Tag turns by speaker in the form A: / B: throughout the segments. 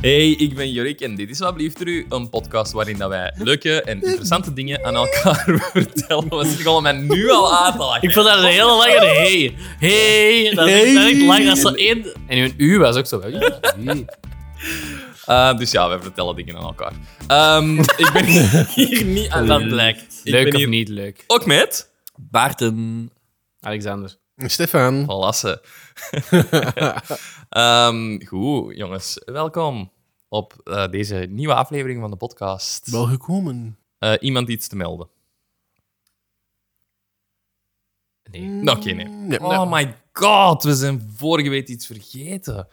A: Hey, ik ben Jorik en dit is Wat Blieft Er U, een podcast waarin dat wij leuke en interessante dingen aan elkaar vertellen. We begonnen mij nu al aan te lachen.
B: Ik vond dat een hele lange hey. Hey. Dat is echt- dat is echt lang. Dat is zo één... En hun u was ook zo.
A: Eh, dus ja, wij vertellen dingen aan elkaar. Ehm, ik ben hier niet
B: Dat
A: alleen.
B: blijkt.
A: Ik
B: Leuk
A: ben
B: of
A: hier-
B: niet leuk?
A: Ook met
B: Baarten. Alexander.
C: Stefan.
A: Lasse. Ehm, goed, jongens. Welkom op eh, deze nieuwe aflevering van de podcast.
C: Wel gekomen.
A: Eh, iemand iets te melden?
B: Nee.
A: Nou, Oké, nee.
C: Mm. Nee.
A: Oh my god, we zijn vorige week iets vergeten.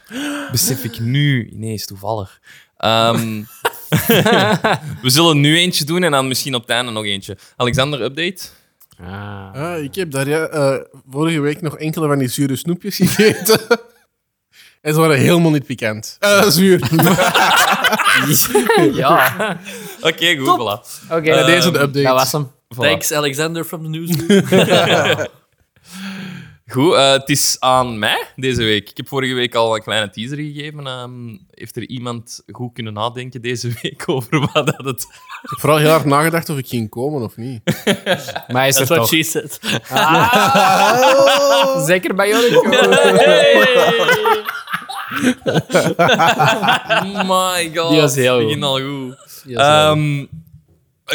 A: Besef ik nu ineens toevallig. Ehm, we zullen nu eentje doen en dan misschien op het einde nog eentje. Alexander, update?
B: Ah.
C: Ah, ik heb daar ja, eh, vorige week nog enkele van die zure snoepjes gegeten. en ze waren helemaal niet pikant. Eh, zuur.
B: Ja.
A: Oké, goed, voilà.
B: Oké.
C: Bij deze de update.
B: dat was hem.
A: Voilà.
B: Thanks, Alexander from the newsroom.
A: Goed, eh, het is aan mij deze week. Ik heb vorige week al een kleine teaser gegeven. Ehm, heeft er iemand goed kunnen nadenken deze week over wat dat het...
C: Ik heb vooral heel hard nagedacht of ik ging komen of niet.
B: Maar is er
D: That's what
B: toch.
D: she said.
B: Zeker bij jullie.
A: Oh my god.
B: Die was heel
A: het
B: goed.
A: begint al goed. Ehm,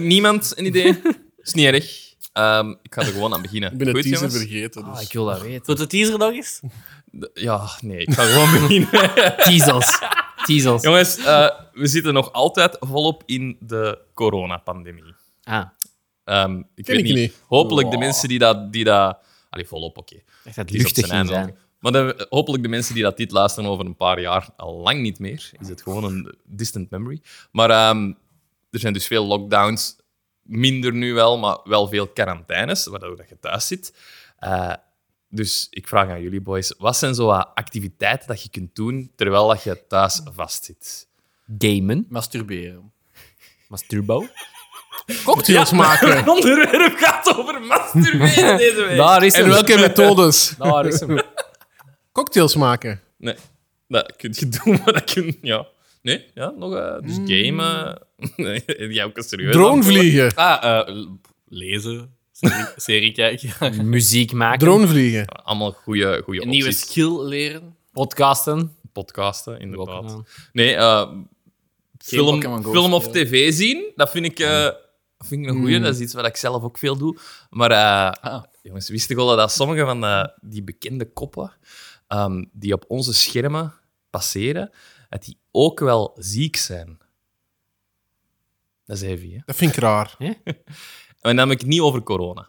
A: niemand een idee? is niet erg. Ehm, ik ga er gewoon aan beginnen.
C: Ik ben de
A: Goed,
C: teaser
A: jongens?
C: vergeten. Dus.
B: Ah, ik wil dat weten.
D: Doet de teaser nog eens?
A: De- Ja, nee, ik ga gewoon beginnen.
B: Teasels. Teasels.
A: Jongens, eh, we zitten nog altijd volop in de coronapandemie.
B: Ah.
A: Ehm ik
C: Ken
A: weet
C: ik
A: niet.
C: niet.
A: Hopelijk de mensen die dat... Die dat allee, volop, oké.
B: Echt dat
A: Die is op
B: luchtig
A: zijn
B: ging
A: einde ook.
B: zijn.
A: Maar de- hopelijk de mensen die dat dit luisteren over een paar jaar, al lang niet meer, is het gewoon een distant memory. Maar ehm, er zijn dus veel lockdowns, minder nu wel, maar wel veel quarantaines, waardoor dat je thuis zit. Eh, dus ik vraag aan jullie boys, wat zijn zo wat activiteiten dat je kunt doen terwijl dat je thuis vastzit?
B: Gamen.
D: Masturberen.
B: Masturbo.
C: Cocktails maken.
A: Het onderwerp gaat over masturberen deze week.
B: Daar is
C: En
B: hem.
C: welke methodes?
B: Daar is hem.
C: Cocktails maken.
A: Nee, dat kun je doen, maar dat kun Ja. Nee, ja, nog... eh, dus gamen... Nee, jij ook een serieus
C: Drone
A: antwoord?
C: vliegen.
D: Ah, eh, lezen. Serie, serie kijken.
B: Muziek maken.
C: Drone vliegen.
A: Allemaal goede goede
D: Een nieuwe
A: opties.
D: skill leren.
B: Podcasten.
A: Podcasten,
B: Ook
A: inderdaad.
B: gedaan.
A: Nee, eh, film,
D: Pokémon Go
A: film of
D: spelen. Hmm.
A: tv zien, dat vind ik, eh, dat vind ik een goeie. Dat is iets wat ik zelf ook veel doe. Maar eh,
D: Ah.
A: jongens, wist ik al dat sommige van eh, die bekende koppen ehm, die op onze schermen passeren, dat die ook wel ziek zijn? Dat is heavy, hè?
C: Dat vind ik raar.
A: En dan heb ik het niet over corona.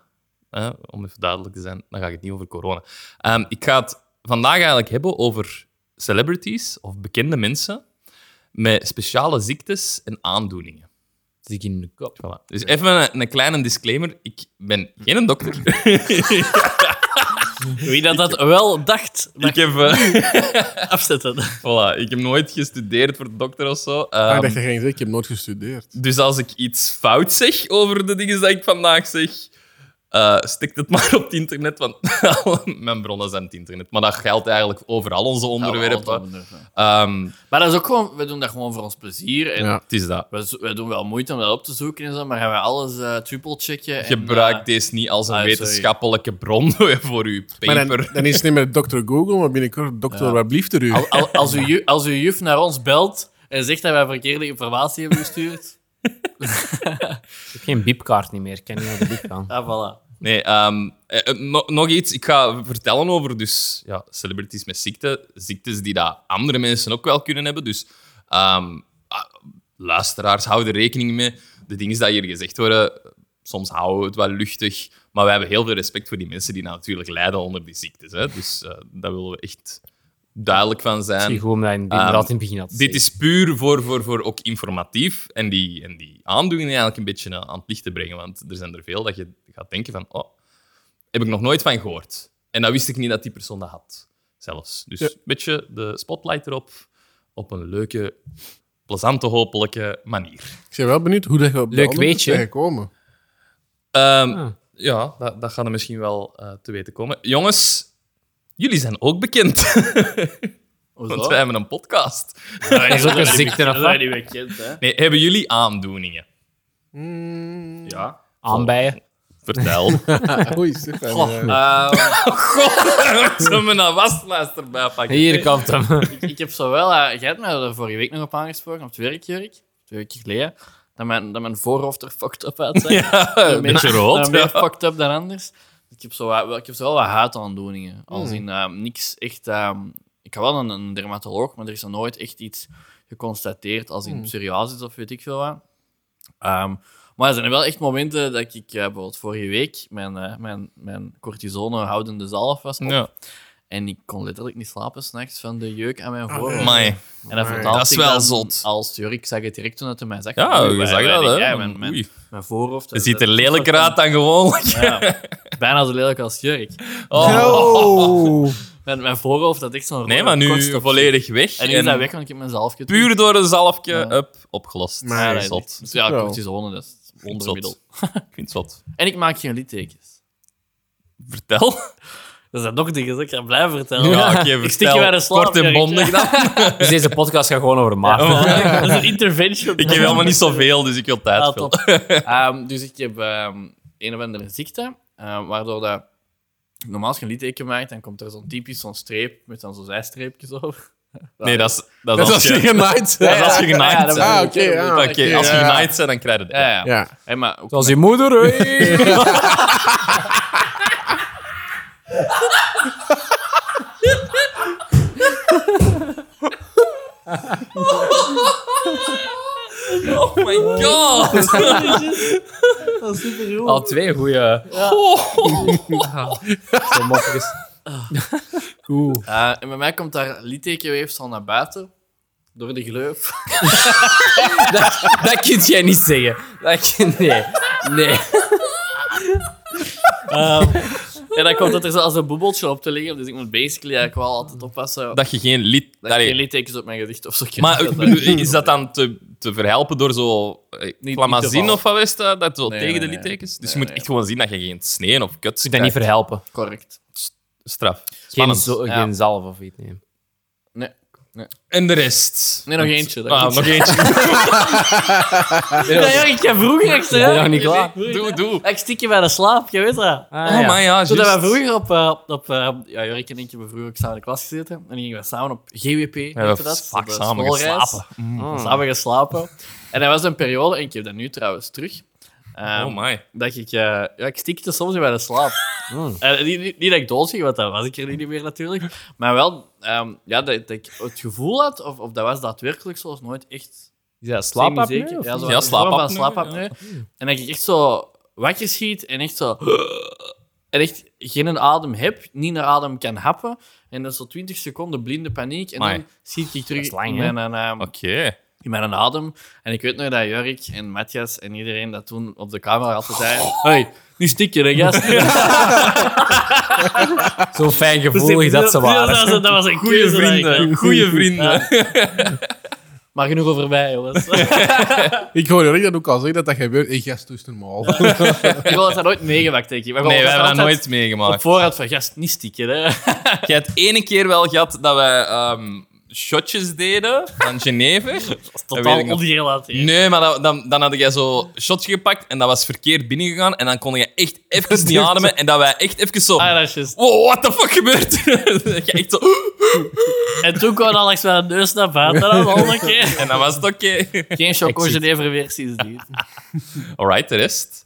A: Hè? Om even duidelijk te zijn, dan ga ik het niet over corona. Ehm, ik ga het vandaag eigenlijk hebben over celebrities of bekende mensen met speciale ziektes en aandoeningen.
B: Zit ik in de kop.
A: Voilà. Dus even een, een kleine disclaimer. Ik ben geen dokter.
D: Wie dat, dat wel dacht, mag
A: ik, heb, eh,
D: afzetten.
A: voilà, ik heb nooit gestudeerd voor dokter of zo.
C: Ah,
A: Ehm,
C: ik dacht dat je ging zeggen, ik heb nooit gestudeerd.
A: Dus als ik iets fout zeg over de dingen die ik vandaag zeg, eh stikt het maar op het internet, want mijn bronnen zijn het internet. Maar dat geldt eigenlijk over al onze onderwerpen. Ehm,
D: Maar dat is ook gewoon, we doen dat gewoon voor ons plezier. En
C: Ja.
A: het is dat.
D: we, zo- we doen wel moeite om dat op te zoeken en zo, maar gaan we alles eh triple checken.
A: Gebruik
D: en,
A: deze niet als een
D: ah, sorry.
A: wetenschappelijke bron voor uw
C: Maar
A: paper.
C: dan, dan is het niet meer Dr. Google, maar binnenkort Dr. Wat blieft er u?
D: eh, al- als, uw ju- als uw juf naar ons belt en zegt dat wij verkeerde informatie hebben gestuurd,
B: Ik heb geen biepkaart niet meer. Ik ken niet naar de biep gaan.
D: ah, voilà.
A: Nee, ehm, eh, eh, no- nog iets. Ik ga vertellen over dus, ja, celebrities met ziekten. Ziektes die dat andere mensen ook wel kunnen hebben. Dus ehm, ah, luisteraars, hou er rekening mee. De dingen die hier gezegd worden, soms houden we het wel luchtig. Maar wij hebben heel veel respect voor die mensen die natuurlijk lijden onder die ziektes. Hè? Dus eh, daar willen we echt duidelijk van
B: Het is
A: zijn.
B: gewoon omdat je
A: Ehm,
B: inderdaad in het begin had.
A: Dit is puur voor, voor, voor ook informatief en die, en die aandoeningen eigenlijk een beetje eh, aan het licht te brengen. Want er zijn er veel dat je gaat denken van, oh, heb ik nog nooit van gehoord. En dan wist ik niet dat die persoon dat had, zelfs. Dus een beetje de spotlight erop, op een leuke, plezante, hopelijke manier.
C: Ik ben wel benieuwd hoe dat je op
B: Leuk
C: andere
B: weetje.
C: bent gekomen.
A: Ehm,
B: Ah.
A: Ja, dat, dat gaat er misschien wel eh, te weten komen. Jongens, jullie zijn ook bekend. Want wij hebben een podcast.
B: Dat is ook een ziekte of
D: Dat
B: wat?
D: die we kent, hè.
A: Nee, hebben jullie aandoeningen?
D: Ja.
B: Aanbijen.
A: Vertel.
C: Oei, zeg maar. eh,
A: Zullen we een waslijster bijpakken?
B: Hier komt hem.
D: ik, ik heb zowel... eh, jij hebt mij er vorige week nog op aangesproken, op het werk, Jurk. Twee weken geleden. Dat mijn, dat mijn voorhoofd er fucked up uitzag.
A: Ja, een beetje rood.
D: Dat meer
A: Ja.
D: fucked up dan anders. Ik heb, zo, wat- wel- ik heb zo wel wat huidaandoeningen. Als
A: Hmm.
D: in ehm, niks echt... ehm, ik had wel een, een dermatoloog, maar er is nog nooit echt iets geconstateerd als
A: Hmm.
D: in psoriasis of weet ik veel wat. Ehm, maar er zijn wel echt momenten dat ik eh, bijvoorbeeld vorige week mijn, eh, mijn, mijn cortisone houdende zalf was op.
A: Ja.
D: En ik kon letterlijk niet slapen s'nachts van de jeuk aan mijn
C: nee.
D: voorhoofd.
A: Amai.
D: en dat
C: Amai.
D: vertaalde
A: Dat is
D: ik
A: wel
D: dan
A: zot.
D: Als Jurk zag het direct toen het in mij zag.
A: Ja,
D: Oei,
A: je
D: wij-
A: zag
D: wij-
A: dat, hè?
D: ja,
A: Ja,
D: mijn, mijn,
A: Oei.
D: mijn voorhoofd. eh,
A: Je ziet er lelijker uit dan gewoonlijk.
D: Ja, bijna zo lelijk als Jurk.
C: Oh.
D: Mijn, mijn voorhoofd had echt zo'n
A: Nee, maar
D: rode korst
A: nu
D: op.
A: volledig weg.
D: En nu is dat weg, want ik heb mezelf getrokken.
A: Puur door een zalfje
D: Ja.
A: up, opgelost.
C: Maar ja,
A: Ja,
C: dat
D: is
A: zot.
D: Dus ja,
C: Wel.
D: cortisone, dat is het wondermiddel.
A: Zot. Ik vind het zot.
D: En ik maak geen littekens.
A: Vertel.
D: Dat zijn nog dingen, dat ik ga blijven vertellen.
A: Ja, oké,
D: ik stik je
A: vertel.
D: bij de slaap,
A: Kort en
D: Jurk.
A: bondig dan.
B: Dus deze podcast gaat gewoon over maat.
D: Dat is een intervention.
A: Ik heb helemaal niet zoveel, dus ik wil tijd
D: Ah,
A: vullen.
D: top. Ehm, dus ik heb ehm, een of andere ziekte, ehm, waardoor dat... Normaal als je een litteken maakt, dan komt er zo'n typisch zo'n streep met dan zo'n zijstreepjes over.
A: Nee, dat is, dat is
C: Dat
A: als,
C: was
A: je,
C: je genaaid.
A: dat is als je genaaid
D: dat
A: bent.
C: Ah,
D: bedoel
C: oké.
D: ik, hè.
C: ja,
A: Oké,
C: oké,
A: als je
C: ja.
A: genaaid bent, dan krijg je het.
D: Ja, ja.
C: Ja.
D: Hey, maar ook
B: Zoals je moeder. hey.
A: Oh my god!
B: Al twee goede. Zo makkelijk is. Cool.
D: Eh, en bij mij komt daar littekenweefsel naar buiten. Door de gleuf.
B: Dat kun jij niet zeggen. Dat kun, nee. Nee.
D: en dan komt dat er zo als een boebeltje op te liggen. Dus ik moet basically eigenlijk wel altijd oppassen dat
A: Dat je geen lid...
D: ik
A: Allee,
D: geen littekens op mijn gezicht of zo krijg.
A: Maar
D: Dat
A: ik
D: dat-
A: bedoel, is dat dan te, te verhelpen door zo eh,
D: niet
A: klamazin
D: vallen.
A: of wat was dat? Dat zo
D: Nee,
A: tegen
D: nee,
A: de
D: nee.
A: littekens? Dus je
D: Nee,
A: moet
D: nee.
A: echt gewoon zien dat je geen sneeën of kuts
B: Ik ben niet
A: krijgt.
B: verhelpen.
D: Correct.
A: Straf.
B: Geen,
A: Spannend.
B: zo,
D: Ja.
B: geen zalf of iets. Nee.
D: Nee.
A: En de rest?
D: Nee, nog eentje, dat
A: Ah,
D: klopt.
A: nog eentje.
D: Ja, ja, ik ga vroeger. Ik
B: ben nog niet klaar.
A: doe, doe.
D: Ik stik je bij de slaap, je weet dat.
B: Ah,
A: Oh, maar ja,
D: Toen we
A: juist.
D: vroeger op... eh, op eh, ja, Jurk en ik hebben vroeger ook samen in de klas gezeten. En dan gingen we samen op GWP.
A: We hebben vaak samen geslapen.
B: Mm.
D: Samen geslapen. En dat was een periode, en ik heb dat nu trouwens terug. Ehm,
A: Oh my.
D: dat ik, eh, ja, ik stikte soms in bij de slaap.
B: Mm.
D: Eh, niet, niet, niet dat ik dood ging, want dat was ik er niet meer natuurlijk. Maar wel ehm, ja, dat, dat ik het gevoel had, of, of dat was daadwerkelijk zoals nooit echt.
B: Is dat slaapapneu?
D: semi-zeker.
B: of
D: Ja,
B: niet?
D: zo
A: Ja,
D: een vorm van
A: slaapapneu,
D: slaapapneu. En dat ik echt zo wakker schiet en echt zo. En echt geen adem heb, niet naar adem kan happen. En dat is zo 20 seconden blinde paniek. En
A: Amai.
D: dan schiet ik terug
B: is lang,
D: in
B: hè?
D: mijn, ehm,
A: Oké.
D: in mijn adem. En ik weet nog dat Jurk en Matthias en iedereen dat toen op de camera
A: Oh,
D: altijd zei... Hey, nu stik je, hè, gast?
B: Zo fijn gevoelig dat ze
D: Dat
B: waren.
D: was, dat was een
A: Goeie
D: keuze dat ik
A: vrienden.
D: had.
A: Goeie vrienden.
D: Maar genoeg over mij, jongens.
C: Ik hoor Rick dat ook al zeggen dat dat gebeurt. Ik gast dus normaal.
D: ik wil dat dat nooit meegemaakt, denk ik. Maar
A: Nee,
D: we
A: we hebben dat
D: altijd
A: nooit
D: Op
A: meegemaakt.
D: voorraad van, gast, niet stikken, hè.
A: Jij hebt ene keer wel gehad dat wij ehm, shotjes deden van Geneve.
D: Totaal
A: ik nog.
D: ongerelateerd.
A: Nee, maar dan, dan, dan had jij zo shots gepakt en dat was verkeerd binnengegaan. En dan kon je echt even niet ademen. En dat wij echt even zo...
D: Ah, dat is juist.
A: Wow, what the fuck gebeurt er? Dat je echt zo...
D: En toen kwam Alex met een neus naar buiten. Dat was al een keer.
A: En dan was het oké.
D: Geen Choco
B: Ik zie-
D: Geneve weer sindsdien.
A: Alright, de rest.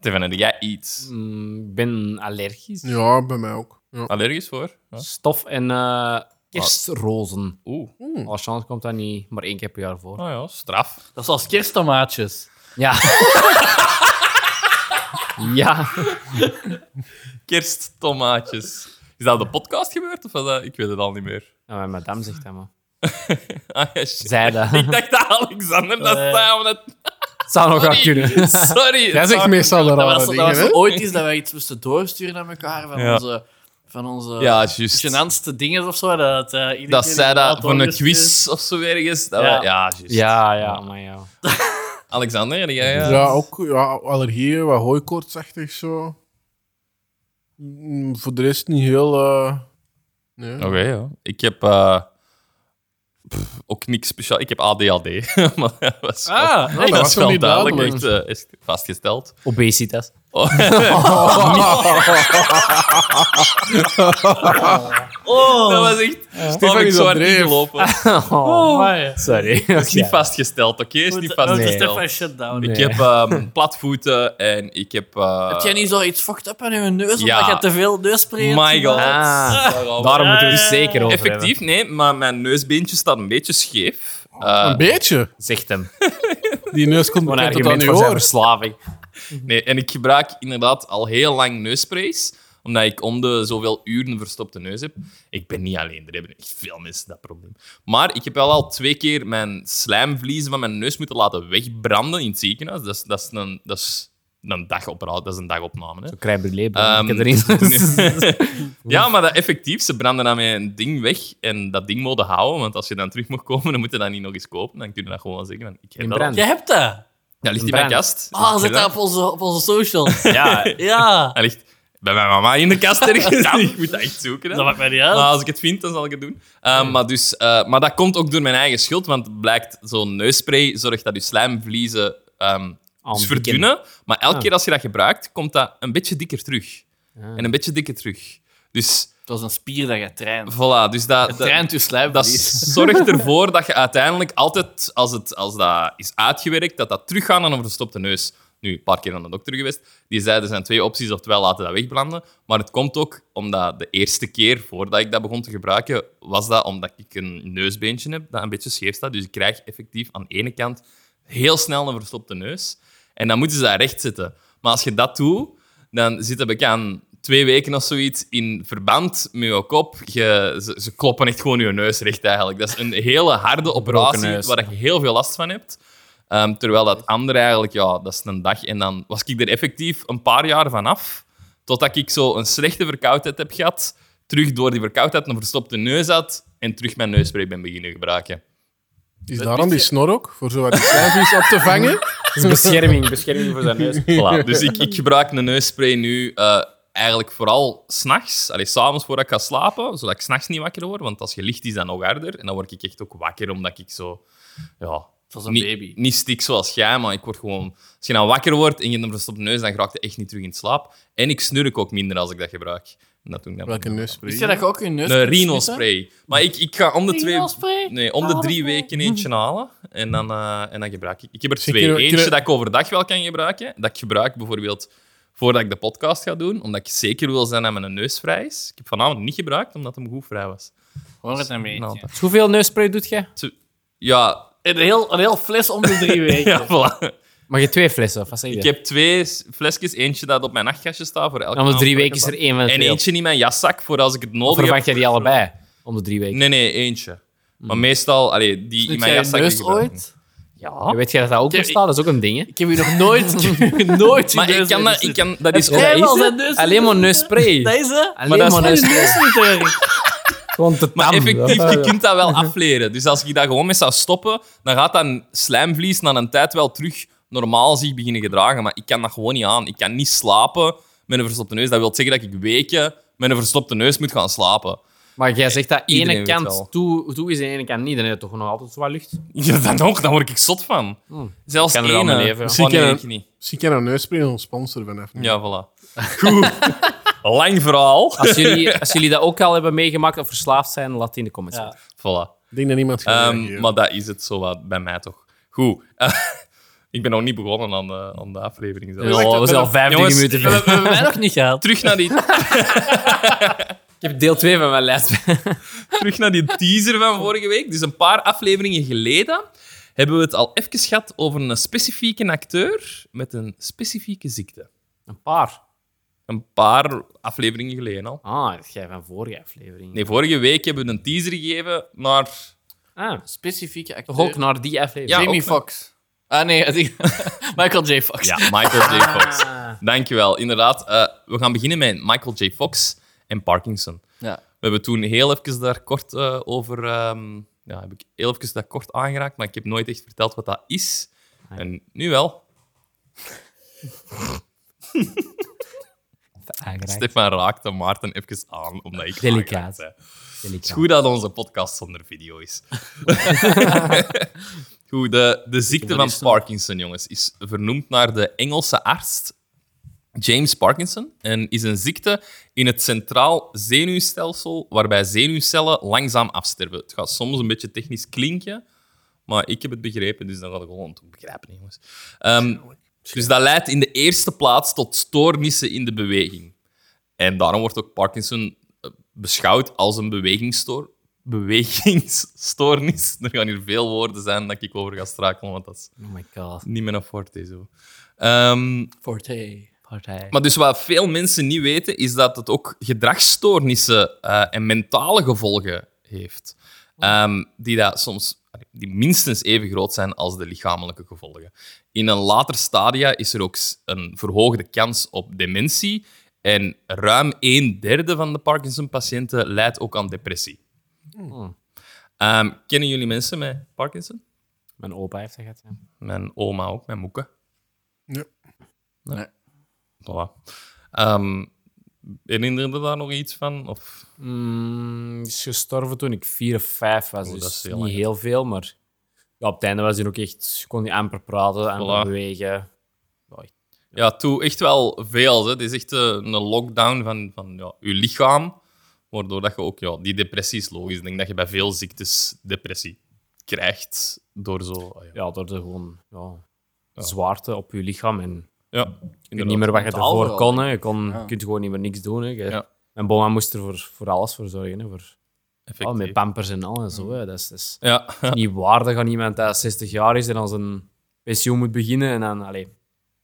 A: Teven, heb jij iets
B: Mm, Ik ben allergisch.
C: Ja, bij mij ook. Ja.
A: allergisch voor? Ja.
B: Stof en eh kerstrozen.
A: Oeh. Oh
B: Al chance komt dat niet maar één keer per jaar voor.
A: ja, straf.
D: Dat is als kersttomaatjes.
B: Ja. ja.
A: Kersttomaatjes. Is dat op de podcast gebeurd? Of was dat... Ik weet het al niet meer.
B: ja mijn madame zegt dat, maar.
A: Ah, ja, shit.
B: Zij dat.
A: Ik dacht dat Alexander dat zei,
D: Eh.
A: maar dat...
B: Het zou nog wel kunnen.
A: Sorry.
C: Jij zegt meestal de
D: Dat was,
C: rare
D: dat was
C: dingen, hè?
D: zo ooit iets dat wij iets moesten doorsturen aan elkaar van
A: Oh, Ja.
D: onze... Van onze
A: Ja, juist.
D: genantste dingen of zo. Dat, eh, iedere
A: Dat
D: keer
A: zij dat
D: inderdaad
A: voor een
D: doorgestuurd.
A: quiz of zo ergens. Dat
D: Ja.
A: wij- ja, juist.
B: Ja, ja, maar ja.
A: Alexander, heb jij... eh,
C: Ja, ook ja, allergieën, wat hooikoortsachtig zo. Mm, Voor de rest niet heel... eh, Nee.
A: Oké, ja. Ik heb eh, pff, ook niks speciaal. Ik heb ADHD. maar dat was wel,
B: Ah,
A: dat
C: dat
A: was
C: was nog
A: wel
C: niet
A: duidelijk
C: duidelijk.
A: echt, eh, is vastgesteld.
B: Obesitas.
A: Dat was echt...
C: Stefan
A: heb ik
C: is
A: zo
C: op
A: hard
C: dreef.
A: ingelopen. Het
B: Oh, sorry.
A: is niet vastgesteld, oké? Het is niet vastgesteld.
D: eh, Stefan shut down.
A: Ik heb ehm, platvoeten en ik heb... eh,
D: Heb jij niet zoiets fucked up aan je neus?
A: Ja.
D: Omdat je te veel neuspray hebt?
A: My god.
B: Ah,
A: Daarom-
B: Daarom moeten we het
D: Eh,
B: zeker over hebben.
A: Effectief, nee, maar mijn neusbeentje staat een beetje scheef. Eh,
C: Een beetje.
B: Zegt hem.
C: Die neus komt
B: Gewoon een
C: bekend tot aan
B: argument
C: uw
B: voor zijn
C: oor.
B: verslaving.
A: Nee, en ik gebruik inderdaad al heel lang neussprays, omdat ik om de zoveel uren een verstopte neus heb. Ik ben niet alleen, er hebben echt veel mensen dat probleem. Maar ik heb wel al twee keer mijn slijmvliezen van mijn neus moeten laten wegbranden in het ziekenhuis. Dat is, dat is een, dat is een dagoperatie, dat is een dagopname. Hè.
B: Crème brûlée,
A: Ehm,
B: ik heb erin.
A: nee. ja, maar dat, effectief, ze branden dan met een ding weg en dat ding moeten houden, want als je dan terug moet komen, dan moet je dat niet nog eens kopen. Dan kun je dat gewoon zeggen. van, Ik heb
B: In
A: dat, al.
B: brand.
D: Jij hebt dat.
A: dat ligt
B: In
A: in mijn
B: brand.
A: kast. Ik
D: Ah,
A: heb
D: zet
A: dat.
D: dat op onze, op onze socials.
B: Ja,
D: ja.
A: Hij ligt bij mijn mama in de kast ergens. ik moet dat echt zoeken. hè.
D: Dat maakt mij niet
A: Maar
D: uit.
A: als ik het vind, dan zal ik het doen. Uh, maar, dus, eh, maar dat komt ook door mijn eigen schuld, want het blijkt zo'n neusspray zorgt dat je slijmvliezen ehm dus
B: Ontwikkelen.
A: verdunnen. Maar elke
B: Ah.
A: keer als je dat gebruikt, komt dat een beetje dikker terug.
D: Ah.
A: En een beetje dikker terug. Dus
D: Dat is een spier dat je traint.
A: voilà, dus dat, dat,
D: Traint je
A: dat
D: slijmvlies.
A: zorgt ervoor dat je uiteindelijk altijd, als, het, als dat is uitgewerkt, dat dat teruggaat aan een verstopte neus. Nu, een paar keer aan de dokter geweest. Die zei, er zijn twee opties, oftewel laten we dat wegbranden. Maar het komt ook omdat de eerste keer, voordat ik dat begon te gebruiken, was dat omdat ik een neusbeentje heb dat een beetje scheef staat. Dus ik krijg effectief aan de ene kant heel snel een verstopte neus. En dan moeten ze dat recht zetten. Maar als je dat doet, dan zitten we aan twee weken of zoiets in verband met je kop. Je, ze, ze kloppen echt gewoon je neus recht eigenlijk. Dat is een hele harde operatie
B: neus.
A: waar je heel veel last van hebt. Ehm, terwijl dat andere eigenlijk, ja, dat is een dag. En dan was ik er effectief een paar jaar vanaf. Totdat ik zo een slechte verkoudheid heb gehad. Terug door die verkoudheid een verstopte neus had. En terug mijn neusspray ben beginnen gebruiken.
C: Is daarom die snor ook? Voor zo wat die slijmvlies op te vangen?
B: bescherming, bescherming voor zijn neus.
A: Voilà. Dus ik, ik gebruik een neusspray nu eh, eigenlijk vooral s'nachts. Allee, s'avonds voordat ik ga slapen, zodat ik s'nachts niet wakker word. Want als je licht is, dan nog harder. En dan word ik echt ook wakker, omdat ik zo... Ja,
D: Dat is een
A: niet,
D: baby.
A: Niet stik zoals jij, maar ik word gewoon... Als je nou wakker wordt en je hebt een verstopte neus, dan raak je echt niet terug in slaap. En ik snurk ook minder als ik dat gebruik. En dat doe ik dan
C: Welke neusspray?
D: Wist je dat je ook je neus
A: Een
D: kunt snuiten?
A: rhino-spray. Maar ik, ik ga om de twee...
D: Rhino-spray?
A: Nee, om de drie
D: Ah,
A: weken eentje halen. En dan, eh, en dan gebruik ik... Ik heb er
C: Zie,
A: twee.
C: kunnen we-
A: Eentje
C: kunnen-
A: dat ik overdag wel kan gebruiken. Dat ik gebruik bijvoorbeeld voordat ik de podcast ga doen. Omdat ik zeker wil zijn dat mijn neus vrij is. Ik heb vanavond niet gebruikt, omdat hem goed vrij was.
D: Hoor het een beetje.
A: Nou, dat-
B: Hoeveel neusspray doet jij?
A: Zo- Ja,
D: Een heel, een heel fles om de drie weken.
A: ja voilà.
B: Mag je twee flessen? Of wat zeg je?
A: Ik heb twee s- flesjes. Eentje dat op mijn nachtkastje staat voor elke
B: Om de
A: avond
B: drie
A: dat ik
B: weken is
A: het
B: er één van de
A: heb. En
B: twee.
A: eentje in mijn jaszak voor als ik het nodig
B: Of verwacht Mhm.
A: heb.
B: jij die allebei? Om de drie weken.
A: Nee, nee, eentje. Maar meestal, allee, die in
D: Doet
A: mijn
D: jij je
A: jaszak...
D: neus
A: die gebruik ik
D: ooit?
B: Ja, Weet jij dat dat ook bestaat? Dat is ook een ding, hè?
D: Ik heb je nog nooit, ik heb hier nooit je
A: Maar ik
D: neus
A: kan
D: laten
A: dat, ik
D: zitten.
A: kan, dat is
D: jij
A: ook-
D: wel
B: is
D: zijn
B: het?
D: neus
B: Alleen maar
D: laten
B: neusspray.
D: Dat is hè?
B: Alleen maar
A: dat is
B: neusspray.
D: Neusversterking.
B: Gewoon te
A: Maar
B: tam.
A: effectief, je kunt dat wel afleren. Dus als je daar gewoon mee zou stoppen, dan gaat dat slijmvlies na een tijd wel terug normaal zich beginnen gedragen. Maar ik kan dat gewoon niet aan. Ik kan niet slapen met een verstopte neus. Dat wil zeggen dat ik weken met een verstopte neus moet gaan slapen.
B: Maar jij zegt dat
A: Iedereen
B: ene
A: weet wel.
B: kant toe, toe is en ene kant niet. Dan heb je toch nog altijd zo wat lucht.
A: Ja, dan ook. Daar word ik zot van. Zelfs
B: Hmm. Ik kan er wel
A: ene.
B: mee leven, ja.
A: Gewoon
C: Zie ik
A: nee,
C: een-
A: ik niet.
C: Misschien kan een neusspray een sponsor vanaf nu.
A: Ja, voilà. Goed. Lang verhaal.
B: Als jullie, als jullie dat ook al hebben meegemaakt of verslaafd zijn, laat het in de comments
D: Ja.
B: weten.
A: Voilà.
C: Ik denk dat niemand gaat
A: Ehm,
C: reageren.
A: maar dat is het zo wat bij mij toch. Goed. Eh, ik ben nog niet begonnen aan de, aan de aflevering. zelf.
C: Ja,
B: Oh, we zijn al 15
A: Jongens, eh,
B: minuten
D: We
B: verder.
D: hebben mij nog niet gehad.
A: Terug naar die
B: Ik heb deel 2 van mijn lijst.
A: terug naar die teaser van vorige week. Dus een paar afleveringen geleden hebben we het al even gehad over een specifieke acteur met een specifieke ziekte.
B: Een paar.
A: Een paar afleveringen geleden al.
B: Ah, dat jij van vorige aflevering.
A: Nee, vorige week hebben we een teaser gegeven naar...
B: Ah,
D: Specifieke acteur.
B: toch ook naar die aflevering.
A: Ja,
D: Jamie
A: ook-
D: Foxx. nou, Ah nee, die- Michael J. Fox.
A: Ja, Michael J. Fox.
B: Ah.
A: Dankjewel, inderdaad. Eh, we gaan beginnen met Michael J. Fox en Parkinson.
D: Ja.
A: We hebben toen heel even daar kort eh, over... ehm, ja, heb ik heel even daar kort aangeraakt, maar ik heb nooit echt verteld wat dat is. En nu wel.
B: Aangeraakt. Ah,
A: Stefan raakte Maarten even aan, omdat ik
B: Delicaat.
A: aangeraakt zei. Het is goed dat onze podcast zonder video is. goed, de, de ziekte van Parkinson, jongens, is vernoemd naar de Engelse arts James Parkinson en is een ziekte in het centraal zenuwstelsel waarbij zenuwcellen langzaam afsterven. Het gaat soms een beetje technisch klinken, maar ik heb het begrepen, dus dan ga ik gewoon het begrijpen, hè, jongens. Ehm, dus dat leidt in de eerste plaats tot stoornissen in de beweging. En daarom wordt ook Parkinson eh, beschouwd als een bewegingsstoor, bewegingsstoornis. Er gaan hier veel woorden zijn dat ik over ga strakelen, want dat is
B: Oh my god.
A: niet mijn forte zo. Ehm,
D: Forte.
B: Partij.
A: maar dus wat veel mensen niet weten, is dat het ook gedragsstoornissen eh, en mentale gevolgen heeft. Ehm, die dat soms die minstens even groot zijn als de lichamelijke gevolgen. In een later stadia is er ook s- een verhoogde kans op dementie. En ruim een derde van de Parkinson-patiënten lijdt ook aan depressie. Ehm, kennen jullie mensen met Parkinson?
B: Mijn opa heeft dat gehad. ja.
A: Mijn oma ook, mijn moeke.
C: Ja.
D: Nee.
A: Voilà. Ehm herinnerde daar nog iets van? Of
B: Mm, is gestorven toen ik 4 of 5 was.
A: Oh,
B: dus
A: dat is heel
B: niet
A: lang.
B: heel veel, maar ja, op het einde was hij ook echt, kon hij amper praten, amper
A: Voilà.
B: bewegen.
A: ja, toen echt wel veel. Hè. Het is echt eh, een lockdown van, van ja, je lichaam. Waardoor dat je ook, ja, die depressie is logisch. Ik denk dat je bij veel ziektes depressie krijgt door zo. ah ja.
B: Ja, door de gewoon ja, zwaarte op je lichaam. En
A: Ja,
B: je weet niet meer wat je
D: Mentaal
B: ervoor
D: vooral,
B: kon. hè. Je kon, je kunt gewoon niet meer niks doen. Hè. Je-
A: Ja.
B: Mijn boma moest er voor, voor alles voor zorgen. Hè. Voor, oh,
A: effectief.
B: met pampers en al en zo. Hè. Dat is, dat is
A: Ja,
B: niet waardig aan iemand dat 60 jaar is en als een pensioen moet beginnen. En dan, allee,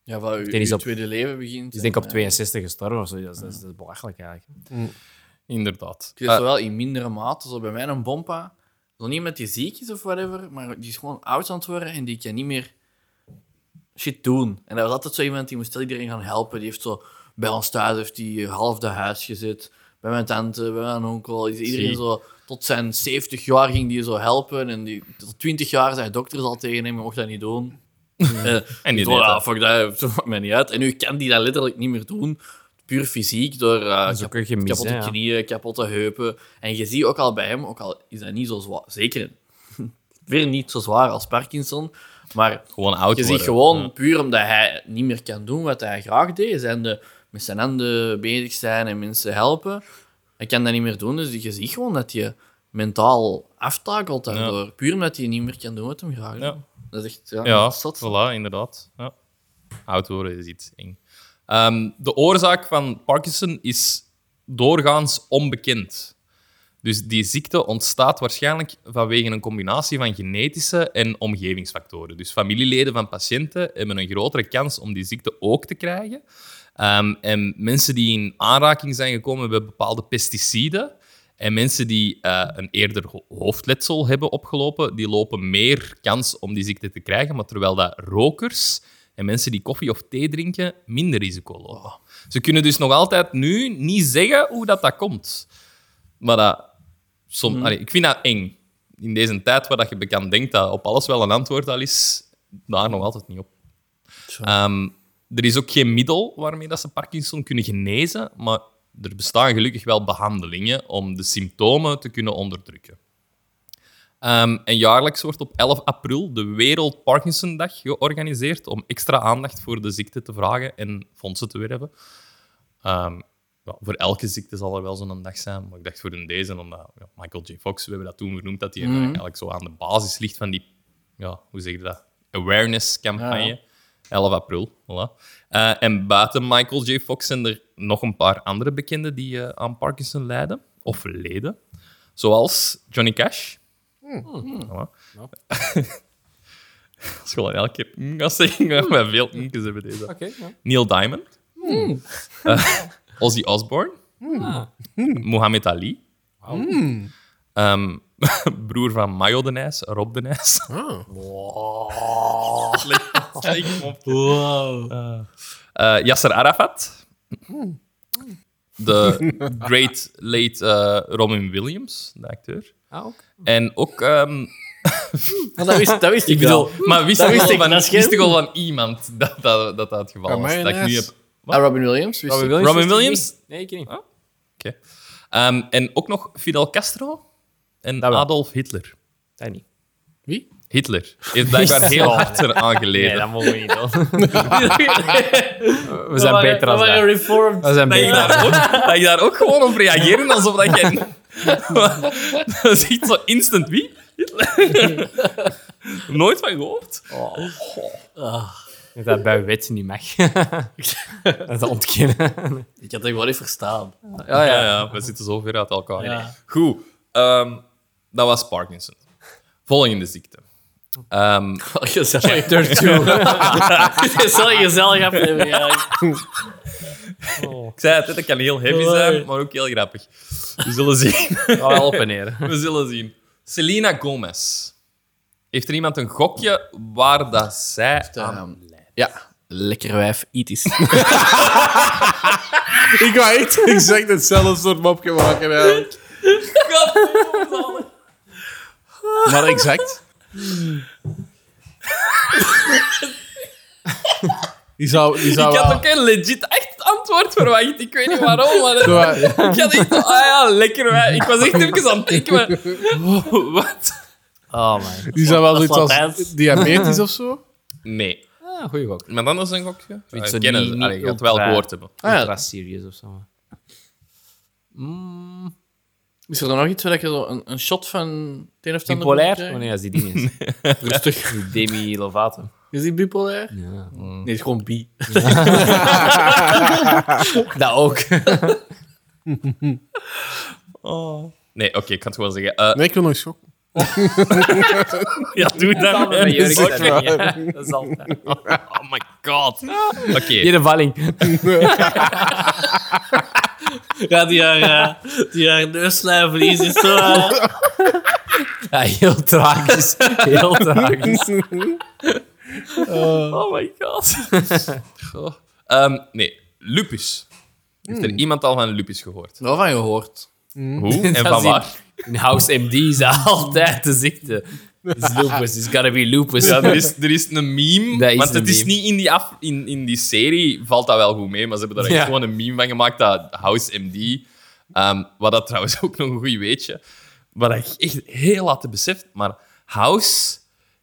D: Ja, van uw,
B: denk is
D: uw
B: op-
D: tweede
A: Dus
D: leven begint.
B: die is denk ik op
D: en,
B: 62 gestorven of zo. Dat is, dat is, dat is belachelijk eigenlijk.
A: inderdaad. Eh,
D: Ik weet het wel in mindere mate, zo bij mij een bompa. Zo niet met die ziek is of whatever, maar die is gewoon oud aan het worden en die kan niet meer shit doen. En dat was altijd zo iemand die moest heel iedereen gaan helpen. Die heeft zo bij ons thuis heeft die eh, half de huis gezet. Bij mijn tante, bij mijn onkel. Is Iedereen
A: Zie.
D: zo, tot zijn 70 jaar ging die zo helpen. En die, tot 20 jaar zijn dokters al tegen hem, je mocht dat niet doen. Eh,
A: En die
D: zo,
A: deed
D: ja,
A: dat.
D: fuck dat, dat maakt mij niet uit. En nu kan die dat letterlijk niet meer doen. Puur fysiek, door eh,
B: Dat is ook een gemis.
D: kapotte
B: hè, ja.
D: knieën, kapotte heupen. En je ziet ook al bij hem, ook al is dat niet zo zwaar, zeker weer niet zo zwaar als Parkinson, maar
A: Gewoon oud
D: je ziet
A: worden.
D: gewoon puur omdat hij niet meer kan doen wat hij graag deed, zijn de, met zijn handen bezig zijn en mensen helpen. Hij kan dat niet meer doen, dus je ziet gewoon dat je mentaal aftakelt daardoor. Puur omdat hij niet meer kan doen wat hem graag doet.
A: Ja.
D: Dat is echt ja,
A: Ja,
D: zot.
A: voilà, inderdaad. Ja. Oud worden is iets eng. Ehm, de oorzaak van Parkinson is doorgaans onbekend. Dus die ziekte ontstaat waarschijnlijk vanwege een combinatie van genetische en omgevingsfactoren. Dus familieleden van patiënten hebben een grotere kans om die ziekte ook te krijgen. Ehm, en mensen die in aanraking zijn gekomen met bepaalde pesticiden en mensen die eh, een eerder ho- hoofdletsel hebben opgelopen, die lopen meer kans om die ziekte te krijgen, maar terwijl dat rokers en mensen die koffie of thee drinken minder risico lopen. Ze kunnen dus nog altijd nu niet zeggen hoe dat, dat komt. Maar dat, som, allee, ik vind dat eng. In deze tijd waar dat je bekend denkt dat op alles wel een antwoord al is, daar nog altijd niet op. Ehm, er is ook geen middel waarmee dat ze Parkinson kunnen genezen, maar er bestaan gelukkig wel behandelingen om de symptomen te kunnen onderdrukken. Ehm, en jaarlijks wordt op 11 april de Wereld Parkinsondag georganiseerd om extra aandacht voor de ziekte te vragen en fondsen te werven. Ehm, ja, voor elke ziekte zal er wel zo'n dag zijn, maar ik dacht voor een deze, omdat ja, Michael J. Fox, we hebben dat toen genoemd, dat hij
B: Mhm.
A: eigenlijk zo aan de basis ligt van die, ja, hoe zeg je dat, awareness-campagne. 11 april, voilà. Eh, en buiten Michael J. Fox zijn er nog een paar andere bekenden die eh, aan Parkinson lijden, of leden. Zoals Johnny Cash.
B: Hmm.
A: Voilà. Als je gewoon elke keer mm gaat zeggen, gaan we veel inkjes hebben deze.
B: Oké, ja.
A: Neil Diamond. Eh, Ozzy Osbourne.
D: Hmm.
B: Ah.
A: Mohamed Ali. Ehm, broer van Mayo de Nijs, Rob de Nijs.
C: Ah.
A: Eh, Yasser Arafat. De great late eh, Robin Williams, de acteur.
B: Ah, ook.
A: En ook... ehm,
D: Maar dat wist, dat wist ik
A: ik bedoel,
D: wel.
A: maar wist
D: Dat
A: ik
D: wist
A: al
D: ik,
A: van,
D: dat is
A: wist
D: geen-
A: ik al van iemand dat dat, dat, dat het geval
C: Ja,
A: was.
C: Mayo
A: Dat
C: de
A: ik nu
C: Nijs.
A: heb...
D: Ah, Robin Williams? Wist ik.
A: Williams? Robin Williams?
B: Nee, ik niet.
A: Oké. Ehm, en ook nog Fidel Castro en
B: Dat wel.
A: Adolf Hitler.
B: Dat niet.
C: Wie?
A: Hitler heeft blijkbaar heel
B: Ja.
A: hard eraan geleden.
B: Nee, dat mogen we niet doen. we zijn beter dan
D: We
B: dat.
D: reformed.
B: We zijn
A: dat, je
B: beter dan
A: daar ook, dat je daar ook gewoon op reageren alsof dat je... dat is echt zo instant wie? Hitler? Nooit van gehoord.
B: dat. Dat bij wet niet mag. dat ontkennen.
D: Ik had dat gewoon niet verstaan.
A: Ja, ja, ja. We zitten zo ver uit elkaar.
D: Ja.
A: Goed. ehm, dat was Parkinson. Volgende ziekte. Ehm,
D: Gezellig.
B: Daartoe.
D: Gezellig, gezellig aflevering. eigenlijk.
A: ik zei het, hè, dat kan heel heavy zijn, maar ook heel grappig. We zullen zien.
B: Al op en neer.
A: We zullen zien. Selena Gomez. Heeft er iemand een gokje waar dat zij aan...
D: Ehm, Ja. Lekker wijf, itisch.
C: Ik wou echt exact hetzelfde soort mopje maken eigenlijk. Maar exact. Die zou, die zou
A: Ik had
C: wel-
A: ook een legit echt antwoord verwacht. Ik weet niet waarom, maar...
C: Zo,
A: eh,
C: eh,
A: Ik had echt... Ah ja, lekker wij. Ik was echt even aan het denken, maar... Wat?
B: Oh man.
C: Die zou wel
D: Dat is
C: zoiets als
D: Latijns.
C: diabetes of zo.
A: Nee.
B: Ah, goeie gok.
A: Maar dan is een gokje. Ah, Ik
B: zo
A: ken
B: niet-
A: het.
B: niet
A: Allee, Je had het
B: ultra-
A: wel gehoord hebben.
D: Ah, ja.
B: Ultra serious of zo. Mm,
D: Is er dan nog iets waar je zo een, een shot van het een of het ander
B: bipolair?
D: moet eh,
B: Oh
D: krijgen?
B: nee, dat is die ding.
D: Rustig.
B: Die Demi Lovato.
D: Is die bipolair?
B: Ja.
D: Nee, het is gewoon bi.
B: Dat ook.
A: Nee, oké, ik kan het gewoon zeggen. Eh,
C: Nee, ik wil nog schokken.
A: ja, doe dat.
B: Samen met Jurgen.
A: Oké.
B: Ja, dat is altijd.
A: Oh my god. Oké.
B: Hier de valling.
D: Ja, die haar, eh, die haar neuslijn verliest is zo... eh,
B: Ja, heel tragisch. Heel tragisch.
A: Oh my god. Goh. Ehm, nee, lupus. Heeft er iemand al van lupus gehoord?
D: Wel van gehoord.
A: Hoe? En
B: Hmm. Dat
A: van
B: is in-
A: waar?
B: In House MD is dat altijd de ziekte. Is lupus. It's gotta be lupus.
A: Ja, Dus er is, er is een meme,
B: Dat is
A: want
B: een
A: het is
B: meme.
A: niet in die, af, in, in die serie, valt dat wel goed mee, maar ze hebben daar echt
B: Ja.
A: gewoon een meme van gemaakt, dat House MD, ehm, wat dat trouwens ook nog een goed weetje, wat ik echt heel laat beseft, maar House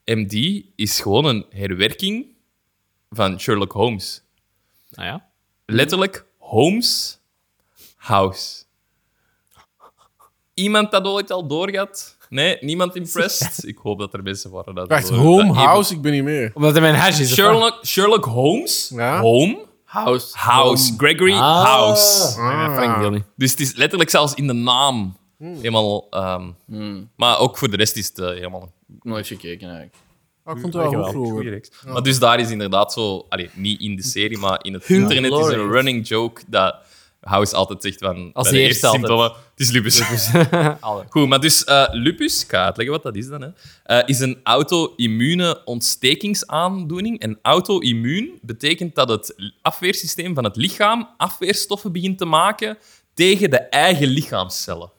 A: MD is gewoon een herwerking van Sherlock Holmes.
B: Nou ja.
A: Letterlijk Holmes House. Iemand dat ooit al doorgaat? Nee, niemand impressed? Ik hoop dat er mensen waren. Dat
C: Wacht,
A: dat-
C: home,
A: dat-
C: house, ik ben niet meer.
B: Omdat hij mijn hash is. of wat?
A: Sherlock, Sherlock Holmes.
C: Ja.
A: Home.
D: House.
A: House. Gregory
B: Ah.
A: House.
B: Ja, Frank wil niet.
A: Dus het is letterlijk zelfs in de naam.
C: Hmm.
A: Helemaal, ehm, Maar ook voor de rest is het eh, helemaal
D: Nooit gekeken, eigenlijk.
C: Ah, ik vond het wel goed
A: een
C: vroeger.
A: Maar dus daar is inderdaad zo... Allee, niet in de serie, maar in het internet is er een
D: Lawrence.
A: running joke dat House altijd zegt van... bij
B: eerste
A: de eerste
B: altijd.
A: symptomen, het is lupus.
B: Alle.
A: Goed, maar dus eh, lupus, ik ga uitleggen wat dat is dan, hè, eh, is een auto-immune ontstekingsaandoening. En auto-immuun betekent dat het afweersysteem van het lichaam afweerstoffen begint te maken tegen de eigen lichaamscellen.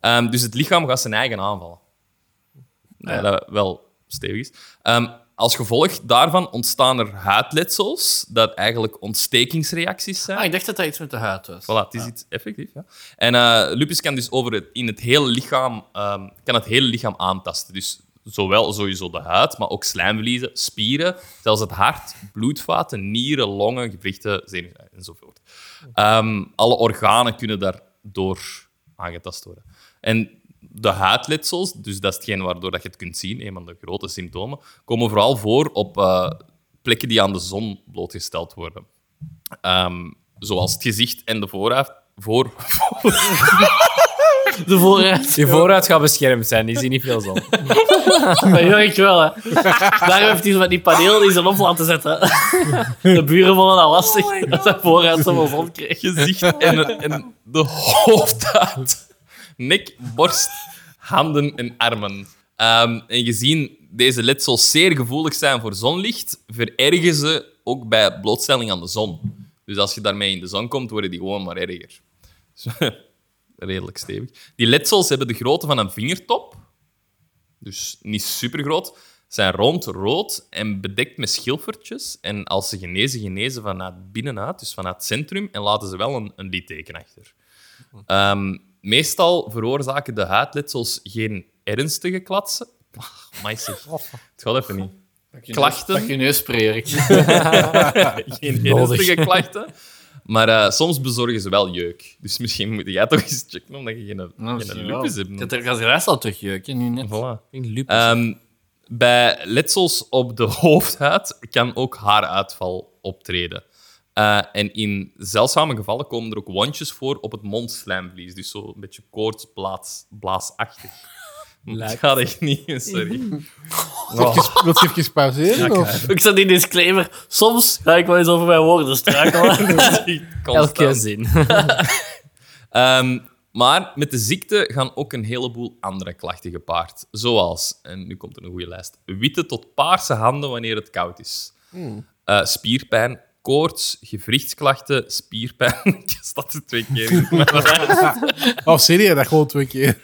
A: Ehm, dus het lichaam gaat zijn eigen aanvallen. Ja. dat wel stevig is. Ehm, als gevolg daarvan ontstaan er huidletsels, dat eigenlijk ontstekingsreacties zijn.
D: Ah, ik dacht dat dat iets met de huid was.
A: Voilà, het is iets effectief. Ja. En eh, lupus kan dus over het, in het hele lichaam, ehm, kan het hele lichaam aantasten. Dus zowel sowieso de huid, maar ook slijmvliezen, spieren, zelfs het hart, bloedvaten, nieren, longen, gewrichten, zenuwen eh, enzovoort. Ehm, alle organen kunnen daardoor aangetast worden. En de huidletsels, dus dat is hetgeen waardoor dat je het kunt zien, een van de grote symptomen, komen vooral voor op eh, plekken die aan de zon blootgesteld worden. Ehm, zoals het gezicht en de voorhoofd. Voor,
D: De vooruit.
B: Je vooruit gaat beschermd zijn, die zien niet veel zon.
D: Maar Jurk wel, hè. Daarom heeft hij zo met die paneel in zijn op laten zetten. De buren vonden dat lastig, dat hij vooruit zoveel zon kreeg.
A: gezicht en, en de hoofdhuid. Nek, borst, handen en armen. Ehm, en gezien deze letsels zeer gevoelig zijn voor zonlicht, verergen ze ook bij blootstelling aan de zon. Dus als je daarmee in de zon komt, worden die gewoon maar erger. Dus, redelijk stevig. Die letsels hebben de grootte van een vingertop, dus niet super groot, zijn rond, rood en bedekt met schilfertjes. En als ze genezen, genezen vanuit binnenuit, dus vanuit het centrum, en laten ze wel een, een litteken achter. Ehm, Meestal veroorzaken de huidletsels geen ernstige klatsen. Ah, Amai, zeg. Het gaat even niet. Klachten.
D: Pak je neus sprayen, Rick.
A: Geen
B: Nodig.
A: ernstige klachten. Maar eh, soms bezorgen ze wel jeuk. Dus misschien moet jij toch eens checken omdat je geen, geen lupus hebt.
D: Dat er- dat is rest al terugjeuk, hè, nu net.
A: Voilà.
B: Ik denk lupus.
A: Ehm, bij letsels op de hoofdhuid kan ook haaruitval optreden. Eh, en in zeldzame gevallen komen er ook wondjes voor op het mondslijmvlies. Dus zo een beetje koortsblaas- blaasachtig. Dat gaat echt niet, sorry.
C: Even- Wilt je even pauzeren? of?
D: Ik zat in disclaimer. Soms ga ik wel eens over mijn woorden strakelen.
B: Elke
A: Constant.
B: zin.
A: Ehm, maar met de ziekte gaan ook een heleboel andere klachten gepaard. Zoals, en nu komt er een goede lijst, witte tot paarse handen wanneer het koud is. Eh, spierpijn, koorts, gewrichtsklachten, spierpijn. Ik staat er twee keer in. Eh,
C: Oh, serieus, dat gewoon twee keer.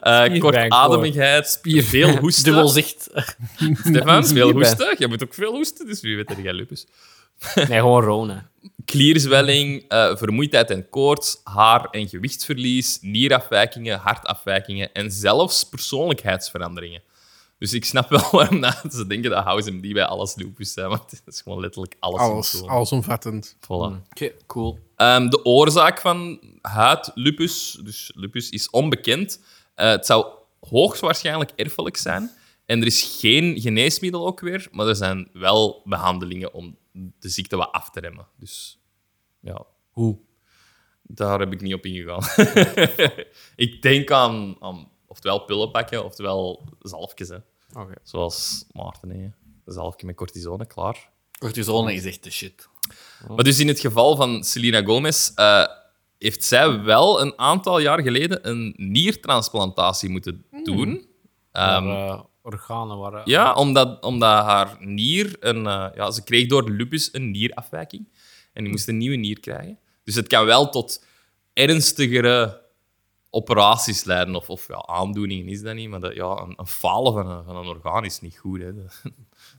A: Eh kortademigheid, spier, veel hoesten.
B: Dubbel zicht.
A: Stefan, veel
B: spierpijn.
A: hoesten. Jij moet ook veel hoesten, dus wie weet dat jij lupus.
B: Nee, gewoon Rona.
A: klierzwelling, eh, vermoeidheid en koorts, haar- en gewichtsverlies, nierafwijkingen, hartafwijkingen en zelfs persoonlijkheidsveranderingen. Dus ik snap wel waarom dat ze denken dat House MD bij alles lupus zijn, want het is gewoon letterlijk alles.
C: Alles,
A: symptomen.
C: allesomvattend.
A: Voilà.
D: cool.
A: Ehm, de oorzaak van huidlupus, dus lupus, is onbekend. Eh, het zou hoogstwaarschijnlijk erfelijk zijn. En er is geen geneesmiddel ook weer, maar er zijn wel behandelingen om de ziekte wat af te remmen. Dus ja, hoe? Daar heb ik niet op ingegaan. ik denk aan, aan oftewel pillen pakken, oftewel zalfjes. Hè.
B: Oké.
A: Zoals Maarten, hè. een zalfje met cortisone, klaar.
D: Cortisone is echt de shit.
A: Maar dus in het geval van Selena Gomez eh, heeft zij wel een aantal jaar geleden een niertransplantatie moeten doen. Ehm,
B: Maar, eh, organen waren...
A: ja, omdat, omdat haar nier een... eh, ja, ze kreeg door lupus een nierafwijking. En die moest een nieuwe nier krijgen. Dus het kan wel tot ernstigere operaties leiden. Of, of ja, aandoeningen is dat niet. Maar dat, ja, een, een falen van een, van een orgaan is niet goed. Hè. Dat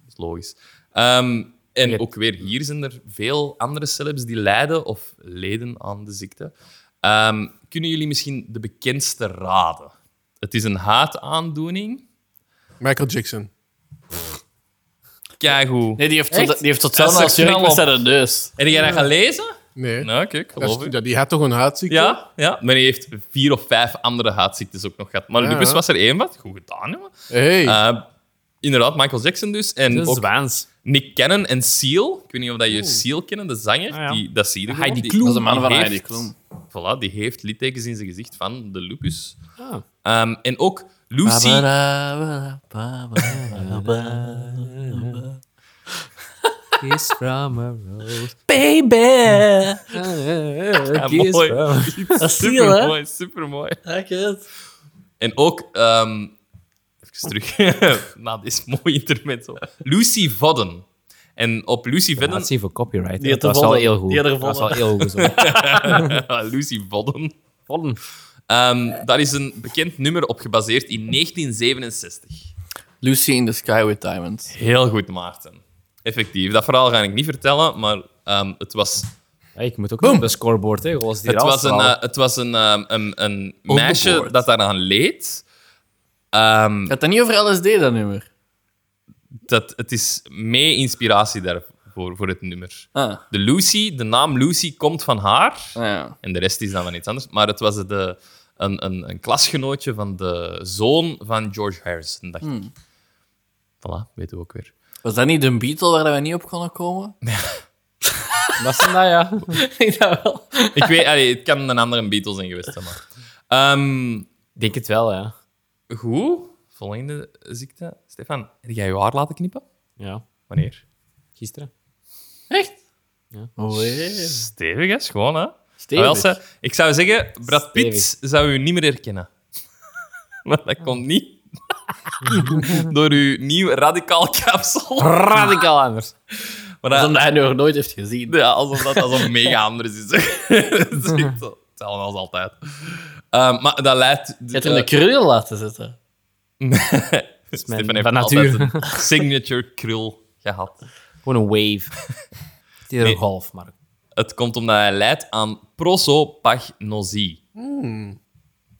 A: is logisch. Ehm, en ook weer hier zijn er veel andere celebs die lijden of leden aan de ziekte. Ehm, kunnen jullie misschien de bekendste raden? Het is een haataandoening.
C: Michael Jackson.
A: Kijk
D: Nee, die heeft, tot, die heeft tot
A: Hij
D: zelfs als
A: zegt
D: jurk
A: knal
D: met
A: op.
D: zijn neus.
A: En jij dat gaan lezen?
C: Nee.
A: Nou, oké, ik
C: Dat
A: geloof
C: is-
A: u.
C: ja, die had toch een huidziekte?
A: Ja, ja, maar hij heeft vier of vijf andere haatziektes ook nog gehad. Maar
C: Ja,
A: lupus
C: ja.
A: was er één wat. Goed gedaan, jongen.
C: Hey.
A: Eh, inderdaad, Michael Jackson dus. En
B: De
A: ook
B: zwaans.
A: Nick Cannon en Seal. Ik weet niet of dat je Seal kennen, de zanger.
B: Ah, ja.
A: die, dat zie je gewoon.
B: Heidi
A: Die-
B: Klum.
D: Dat is een man
A: die
D: van
A: heeft-
D: Heidi Klum.
A: Voilà, die heeft littekens in zijn gezicht van de lupus.
B: Ah.
A: Ehm, en ook Lucy...
B: Kiss from a rose.
D: Baby!
B: Kiss
A: mooi.
B: from a-
D: Dat is ziel, hè?
A: Supermooi, supermooi.
D: Ja, ik weet het.
A: En ook, ehm, even terug na dit mooie intermezzo, Lucy Vodden. En op Lucy Vodden,
B: Gratie voor copyright. hè.
D: Die had
B: dat was
D: er
B: wel
D: vallen.
B: heel goed.
D: Die had er
B: dat was wel
D: vallen.
B: heel goed. zo.
A: Lucy Vodden,
B: Vallen.
A: ehm, daar is een bekend nummer op gebaseerd in 1967.
D: Lucy in the Sky with Diamonds.
A: Heel goed, Maarten. Effectief. Dat verhaal ga ik niet vertellen, maar ehm, het was,
B: Ja, ik moet ook nog op de scoreboard, hè. Zoals die
A: het
B: raast
A: was, een,
B: halen.
A: eh, het was een, ehm, een, een meisje
D: board.
A: dat daaraan leed. Ehm,
D: Gaat dat niet over LSD, dat nummer?
A: dat, het is mee inspiratie daarvoor, voor het nummer.
D: Ah, ah
A: De Lucy, de naam Lucy komt van haar.
D: ja.
A: En de rest is dan van iets anders. Maar het was de, een, een, een klasgenootje van de zoon van George Harrison,
D: Hmm.
A: dacht ik. Voilà, weten we ook weer.
D: Was dat niet de Beatle waar we niet op konden komen?
B: Dat is een, nou ja.
D: Nee, dat wel.
A: Ik weet, allee, het kan een andere Beatles zijn geweest, hè, maar... Ehm,
B: Ik denk het wel, ja.
A: goed. Volgende ziekte. Stefan, heb jij je haar laten knippen?
B: Ja,
A: Wanneer?
B: gisteren.
D: Oh, hey.
A: Stevig, hè? Schoon, hè? Ah,
D: Stevig.
A: Wel, ze- ik zou zeggen, Brad Pitt
B: Stevig.
A: zou u niet meer herkennen. maar dat komt niet door uw nieuw radicaal kapsel.
B: Radicaal anders.
A: Maar
D: Dat
A: dat-
D: is omdat hij nog nooit heeft gezien.
A: ja, alsof dat, alsof mega anders is. dat is echt
B: Mhm.
A: zo. Hetzelfde als altijd. Ehm, maar dat leidt...
D: Je hebt hem de krul laten zitten.
A: is
B: mijn-
A: heeft
B: van
A: altijd
B: natuur.
A: een signature krul gehad.
B: Gewoon een wave. Het is een golf, maar...
A: Het komt omdat hij leidt aan prosopagnosie.
B: Hmm.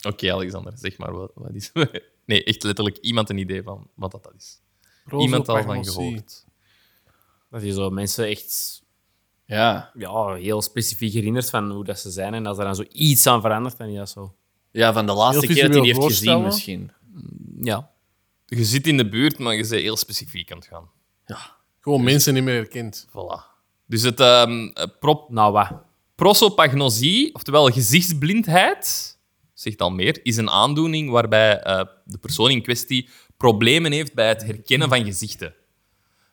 A: Oké, Alexander, zeg maar wat, wat is. nee, echt letterlijk iemand een idee van wat dat, dat is.
C: Roze
A: iemand al van
C: pagnozzi.
A: gehoord.
B: Dat je zo mensen echt
D: Ja.
B: ja, heel specifiek herinnert van hoe dat ze zijn. En als er dan zo iets aan verandert, dan is dat zo.
D: ja, van de laatste
C: Heel
D: keer dat hij die
C: visueel
D: heeft gezien
C: voorstellen.
D: misschien.
B: Ja.
A: Je zit in de buurt, maar je bent heel specifiek aan het gaan.
C: Gewoon mensen niet meer herkend.
A: Voilà. Dus het ehm, eh, prop
B: Nou, wat?
A: prosopagnosie, oftewel gezichtsblindheid, zegt al meer, is een aandoening waarbij eh, de persoon in kwestie problemen heeft bij het herkennen van gezichten.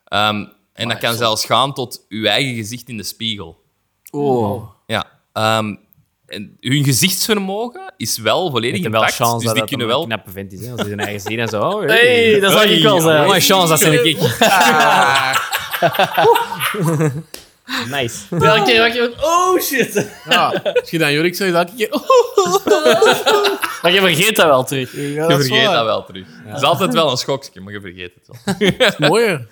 A: Ehm, en
B: Ah,
A: dat kan zelfs gaan tot uw eigen gezicht in de spiegel.
B: Oh.
A: Ja. ehm, en hun gezichtsvermogen is wel volledig
B: Ik heb wel
A: intact,
B: chance
A: dus
B: dat
A: die
B: dat
A: kunnen
B: een
A: wel...
B: knappe vent is. Hè? Als hij zijn eigen zin en zo. Oh,
D: Hey, dat zou ik wel zijn.
B: Mooie chance, dat zijn ik. Nice.
D: Welke keer, welke keer- Oh shit!
C: Ja, als je dan Jorik zegt, dat ik... oh,
D: Maar je vergeet dat wel terug.
A: Je vergeet dat wel terug. Het is altijd wel een schokje, maar je vergeet het wel.
C: Mooier.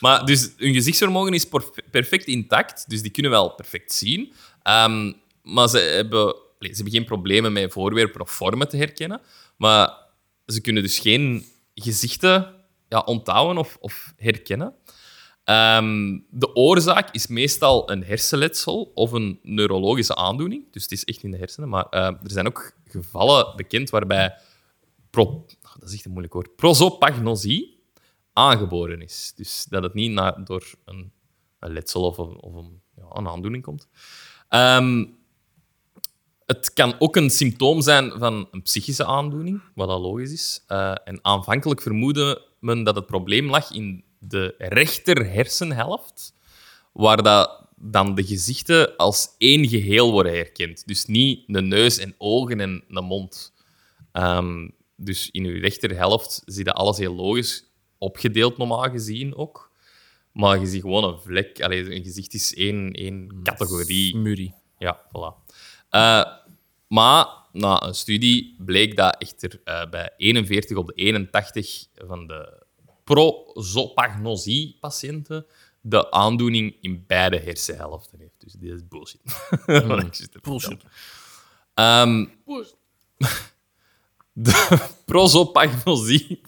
A: Maar dus hun gezichtsvermogen is perf- perfect intact, dus die kunnen wel perfect zien. Ehm, maar ze hebben, allee, ze hebben geen problemen met voorwerpen of vormen te herkennen. Maar ze kunnen dus geen gezichten ja, onthouden of, of herkennen. Ehm, de oorzaak is meestal een hersenletsel of een neurologische aandoening. Dus het is echt in de hersenen. Maar eh, er zijn ook gevallen bekend waarbij pro, Ah, dat is echt een moeilijk woord, prosopagnosie aangeboren is. Dus dat het niet na, door een, een letsel of een, of een, ja, een aandoening komt. Ehm, het kan ook een symptoom zijn van een psychische aandoening, wat al logisch is. Eh, en aanvankelijk vermoedde men dat het probleem lag in de rechter hersenhelft, waar dat dan de gezichten als één geheel worden herkend. Dus niet een neus en ogen en een mond. Ehm, dus in uw rechterhelft zie je alles heel logisch opgedeeld, normaal gezien ook. Maar je ziet gewoon een vlek. Allee, een gezicht is één, één
D: Mm.
A: categorie.
B: Murray.
A: Ja, voilà. Eh, maar na een studie bleek dat echter eh, bij 41 op de 81 van de prosopagnosie-patiënten de aandoening in beide hersenhelften heeft. Dus dit is bullshit. Wat ik zit te
C: Bullshit.
A: Ehm, de prosopagnosie.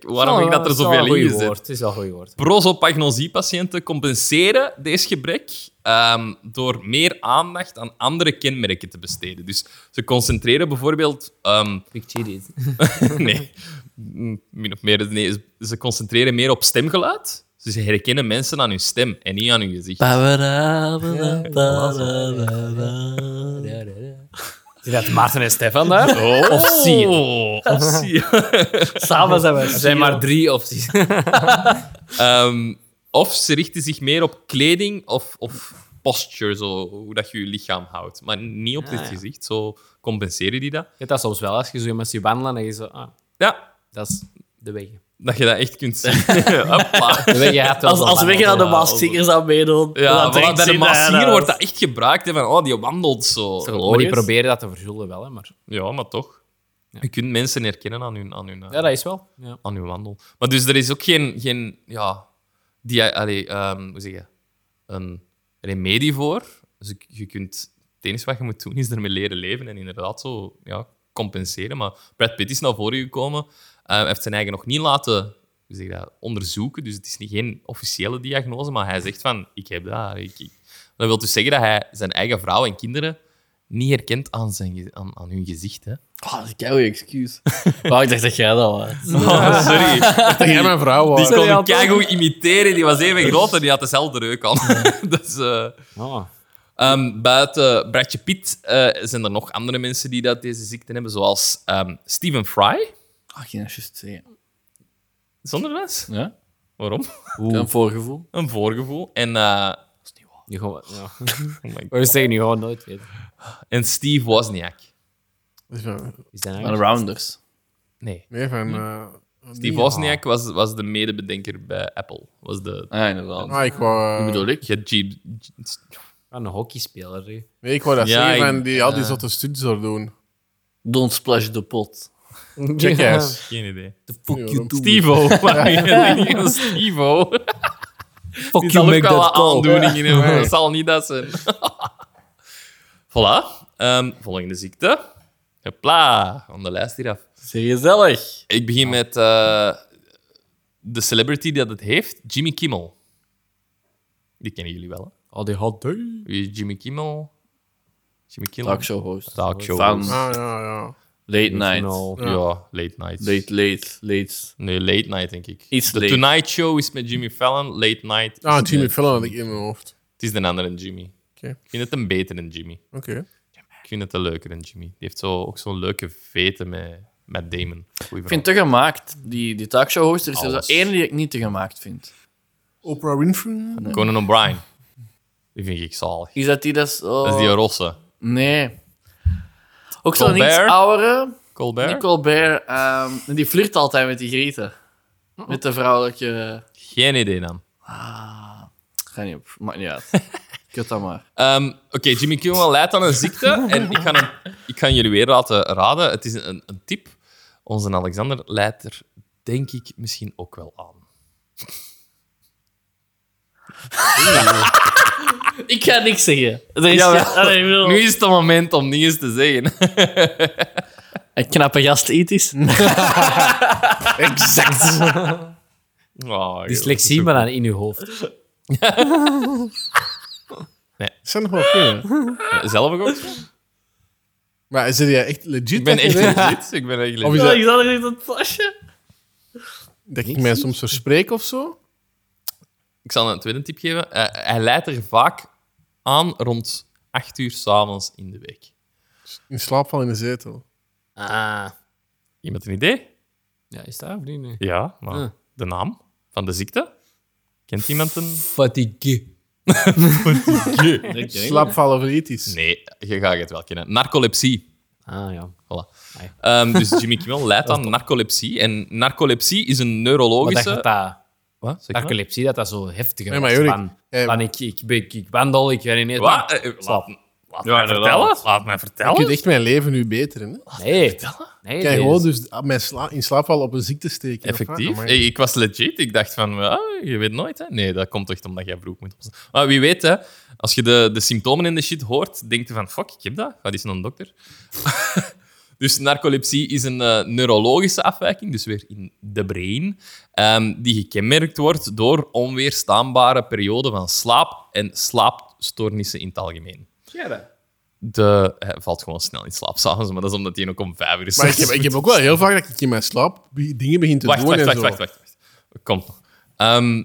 A: Waarom heb ik dat er zoveel in gezet?
B: Het Ah, is wel een goeie woord.
A: Prosopagnosie-patiënten compenseren deze gebrek ehm, door meer aandacht aan andere kenmerken te besteden. Dus ze concentreren bijvoorbeeld. ehm,
B: Ik cheat it.
A: nee, Mm, min of meer. Nee, ze- ze concentreren meer op stemgeluid. Dus ze herkennen mensen aan hun stem en niet aan hun gezicht.
B: Is dat Maarten en Stefan daar?
A: Oh.
B: Of zie je?
A: Of zie je?
B: Samen zijn we. Er zijn maar drie opties.
A: Ehm, of ze richten zich meer op kleding of, of posture, zo, hoe dat je je lichaam houdt. Maar niet op dit
B: ja.
A: gezicht, zo compenseren die dat.
B: Je hebt dat soms wel. Als je zo iemand ziet wandelen, dan denk je zo... Ah,
A: Ja,
B: dat is de weg.
A: dat je dat echt kunt zien. Hopla.
B: De weg gaat wel
D: Als,
B: zo
D: als we
B: wandelen.
D: aan de maskingers aan meedoen.
A: Ja,
D: dan
A: voilà, bij de massier
D: massier
A: wordt dat echt gebruikt. Hè, van, oh, die wandelt zo.
B: Maar die proberen dat te verzoelen wel, hè, maar...
A: Ja, maar toch. Je kunt mensen herkennen aan hun, aan hun, eh,
B: Ja, dat is wel. Ja.
A: aan hun wandel. Maar dus er is ook geen, geen ja, die, allee, ehm, hoe zeg je, een remedie voor. Dus je- je kunt, het enige wat je moet doen is ermee leren leven en inderdaad zo ja, compenseren. Maar Brad Pitt is naar voren gekomen. Eh, hij heeft zijn eigen nog niet laten hoe zeg je dat, onderzoeken, dus het is niet geen officiële diagnose, maar hij zegt van, ik heb dat. Ik, ik. Dat wil dus zeggen dat hij zijn eigen vrouw en kinderen niet herkent aan, zijn, ge- aan, aan hun gezicht. Hè.
D: Oh, dat is een keigoeie excuus. Wauw, ik dacht dat jij dat was.
A: sorry.
C: Dat jij mijn vrouw
A: Die
C: was.
A: kon
B: Anton.
A: ik keigoed imiteren. Die was even groot en die had dezelfde reuk aan. dus, eh,
B: Oh.
A: ehm, buiten Bradje Piet eh, zijn er nog andere mensen die dat, deze ziekte hebben, zoals ehm, Stephen Fry.
D: Ach, je dat juist zeggen.
A: Zonder les?
D: Ja?
A: Waarom?
D: Een voorgevoel.
A: Een voorgevoel. En, eh,
B: Nu gewoon... Ja.
A: oh my God.
B: We zeggen nu gewoon nooit weten.
A: en Steve Wozniak.
C: Dus, eh,
B: Is dat
D: Van de
B: nou...
D: Rounders.
A: Nee.
C: Nee, van... eh,
A: Steve Wozniak was, was de medebedenker bij Apple. Was de...
D: Ja, inderdaad.
C: Ah, ik wou... eh,
D: Wat bedoel ik?
A: Je hebt G- G-
B: Een hockeyspeler. hè.
C: Nee, ik wou dat
A: Ja,
C: zeggen,
A: ik-
C: van die al die zotte studies door doen.
D: Don't splash the pot.
C: Jackass.
A: Geen idee.
B: The fuck
C: Ja,
B: you
C: waarom-
B: do.
A: Stevo. Stevo.
B: Fuck
A: Die zal
B: you
A: ook
B: make
A: wel
B: that
A: een
B: call.
A: aandoening in hebben.
C: Nee.
A: Dat zal niet dat zijn. voilà. Ehm, volgende ziekte. Hopla, van de lijst hier af.
B: Zeg gezellig.
A: Ik begin met eh, de celebrity die dat heeft, Jimmy Kimmel. Die kennen jullie wel, hè?
B: ADHD.
A: Wie is Jimmy Kimmel? Jimmy Kimmel?
D: Talkshow host.
A: Talkshow
D: Van
A: host.
C: Ah, ja, ja.
D: Late Night.
A: Ja. ja, late night.
D: Late, late, late.
A: Nee, late night, denk ik.
D: Iets
A: de
D: late.
A: Tonight Show is met Jimmy Fallon, late night. is
C: Ah, Jimmy
A: met-
C: Fallon had ik in mijn hoofd.
A: Het is de andere Jimmy.
C: Oké.
A: Ik vind het een betere Jimmy.
C: Oké.
A: Ik vind het een leukere Jimmy. Die heeft zo, ook zo'n leuke veten met, met Damon. Goeie
D: Ik vind het te gemaakt, die, die talkshow host. Er is er
A: Alles.
D: één die ik niet te gemaakt vind.
C: Oprah Winfrey?
A: verhaal. Conan O'Brien. Die vind ik zalig.
D: Is dat die dat... is- oh,
A: Dat is die rosse.
D: Nee. Ook zo'n iets
A: Colbert?
D: oudere.
A: Colbert?
D: Nicole Bear. ehm, die flirt altijd met die Grieten.
B: Oh.
D: Met de vrouwelijke...
A: Geen idee dan.
D: Ga niet op. Maakt niet uit. Kut dat maar.
A: Ehm, Oké, Jimmy Kimmel leidt aan een ziekte. en ik ga, hem- ik ga jullie weer laten raden. Het is een, een tip. Onze Alexander leidt er, denk ik, misschien ook wel aan.
B: Ik ga niks zeggen. Er is
A: Jawel.
B: Allee, ik bedoel-
A: Nu is het het moment om dingen te zeggen.
B: Een knappe gast eet is.
A: Oh, joh,
B: Dyslexie, maar dan in uw hoofd.
C: Zijn nog wel kunnen.
A: dat is- Zelf ook?
C: Maar zit jij echt legit?
A: Ik ben
C: dat je
A: echt
C: weet?
A: legit. Ik ben echt
C: Of is
A: legit.
C: dat,
B: Ik zat er in dat plasje.
C: dat ik mij soms verspreek of zo?
A: Ik zal een tweede tip geven. Eh, hij leidt er vaak aan rond 8 uur s'avonds in de week.
C: In slaap vallen in de zetel.
B: Ah.
A: Iemand een idee?
B: Ja, is dat of niet? nee?
A: Ja, maar
B: Ja.
A: de naam van de ziekte? Kent iemand een...
B: Fatigue.
C: Slaapvallen veritisch.
A: Nee, je gaat het wel kennen. Narcolepsie.
B: Ah, ja.
A: Voilà.
B: Nee.
A: Ehm, dus Jimmy Kimmel leidt aan narcolepsie. En narcolepsie is een
B: Wat
A: neurologische...
B: dacht dat dat...
A: Wat? Zeg maar.
B: Narcolepsie, dat dat zo heftig
C: Nee,
B: was.
C: maar Jorik,
B: Van,
C: eh,
B: van ik, ik, ik, ik wandel, ik weet niet...
A: Wat? Eh, eh, Laat,
B: Slaap.
A: laat
D: Ja,
A: mij
D: inderdaad.
A: vertellen. Laat mij
C: Ik
A: vertellen.
C: kunt echt mijn leven nu beteren. Hè?
B: Nee. Nee,
C: Ik kan
B: nee.
C: gewoon dus mijn sla in slaap vallen op een ziekte steken.
A: Effectief.
C: Of wat?
A: Hey, ik was legit. Ik dacht van, ah, je weet nooit. Hè? Nee, dat komt echt omdat jij broek moet opzetten. Maar wie weet, hè, als je de, de symptomen in de shit hoort, denk je van, fuck, ik heb dat. Ga eens naar een dokter. dus narcolepsie is een eh, neurologische afwijking, dus weer in de brain, ehm, die gekenmerkt wordt door onweerstaanbare perioden van slaap en slaapstoornissen in het algemeen. De, hij valt gewoon snel in slaap s'avonds, maar dat is omdat hij ook om vijf uur is.
C: Maar ik heb, ik heb ook wel heel vaak dat ik in mijn slaap be- dingen begin te
A: Wacht,
C: doen
A: wacht,
C: en
A: wacht,
C: zo.
A: wacht, wacht, wacht. Komt nog. Ehm,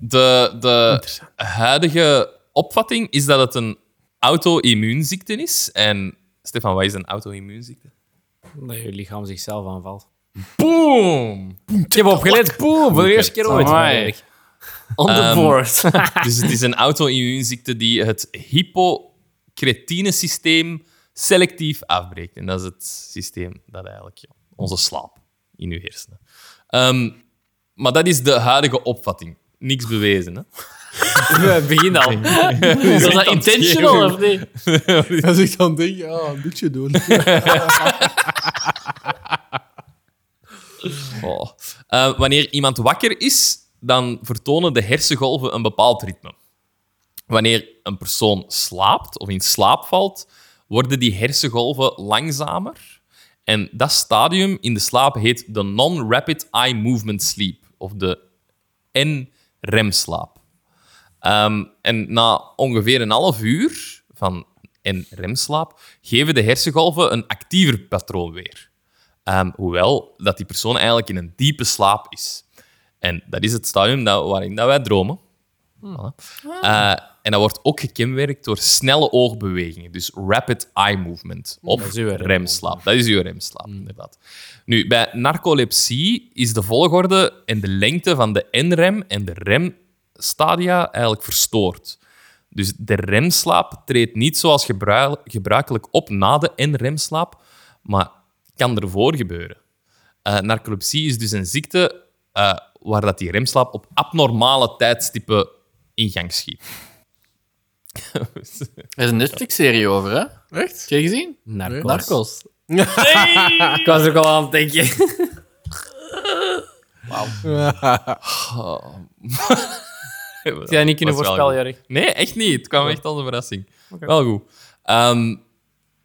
A: de, de huidige opvatting is dat het een auto-immuunziekte is. En Stefan, wat is een auto-immuunziekte?
B: Dat je lichaam zichzelf aanvalt.
A: Boom!
B: Ik heb opgelet. Boem, voor de eerste keer ooit.
D: Amai.
B: Erik.
D: On the
A: Ehm,
D: board.
A: Dus het is een auto-immuunziekte die het hypocretine-systeem selectief afbreekt. En dat is het systeem dat eigenlijk ja, onze slaap in uw hersenen. Ehm, maar dat is de huidige opvatting. Niks bewezen, hè?
B: We beginnen al.
D: Was dat
A: aan het
D: intentional
A: schreeuwen.
D: of niet?
C: Als ik dan denk, ja, een beetje doen.
A: Oh. Eh, wanneer iemand wakker is, dan vertonen de hersengolven een bepaald ritme. Wanneer een persoon slaapt of in slaap valt, worden die hersengolven langzamer. En dat stadium in de slaap heet de non-rapid eye movement sleep, of de N-remslaap. Ehm, en na ongeveer een half uur van N-remslaap geven de hersengolven een actiever patroon weer. Ehm, hoewel dat die persoon eigenlijk in een diepe slaap is. En dat is het stadium dat, waarin dat wij dromen.
B: Hmm.
A: Voilà. Eh, en dat wordt ook gekenmerkt door snelle oogbewegingen, dus rapid eye movement, op
B: Hmm. dat is uw Hmm. rem.
A: remslaap. Dat is uw remslaap, inderdaad. Nu, bij narcolepsie is de volgorde en de lengte van de NREM en de REM-stadia eigenlijk verstoord. Dus de remslaap treedt niet zoals gebruil- gebruikelijk op na de NREM-slaap, maar kan ervoor gebeuren. Eh, narcolepsie is dus een ziekte eh, waar dat die remslaap op abnormale tijdstippen in gang schiet. Dus-
D: Er is een Netflix-serie over, hè? Heb
C: Echt?
D: je gezien?
B: Narcos.
D: Narcos.
B: Ik was ook al aan het denken.
A: Dat
B: niet kunnen
A: was wel
B: voorspellen,
A: goed.
B: Jorik.
A: Nee, echt niet. Het kwam echt als een verrassing. Wel goed. Ehm,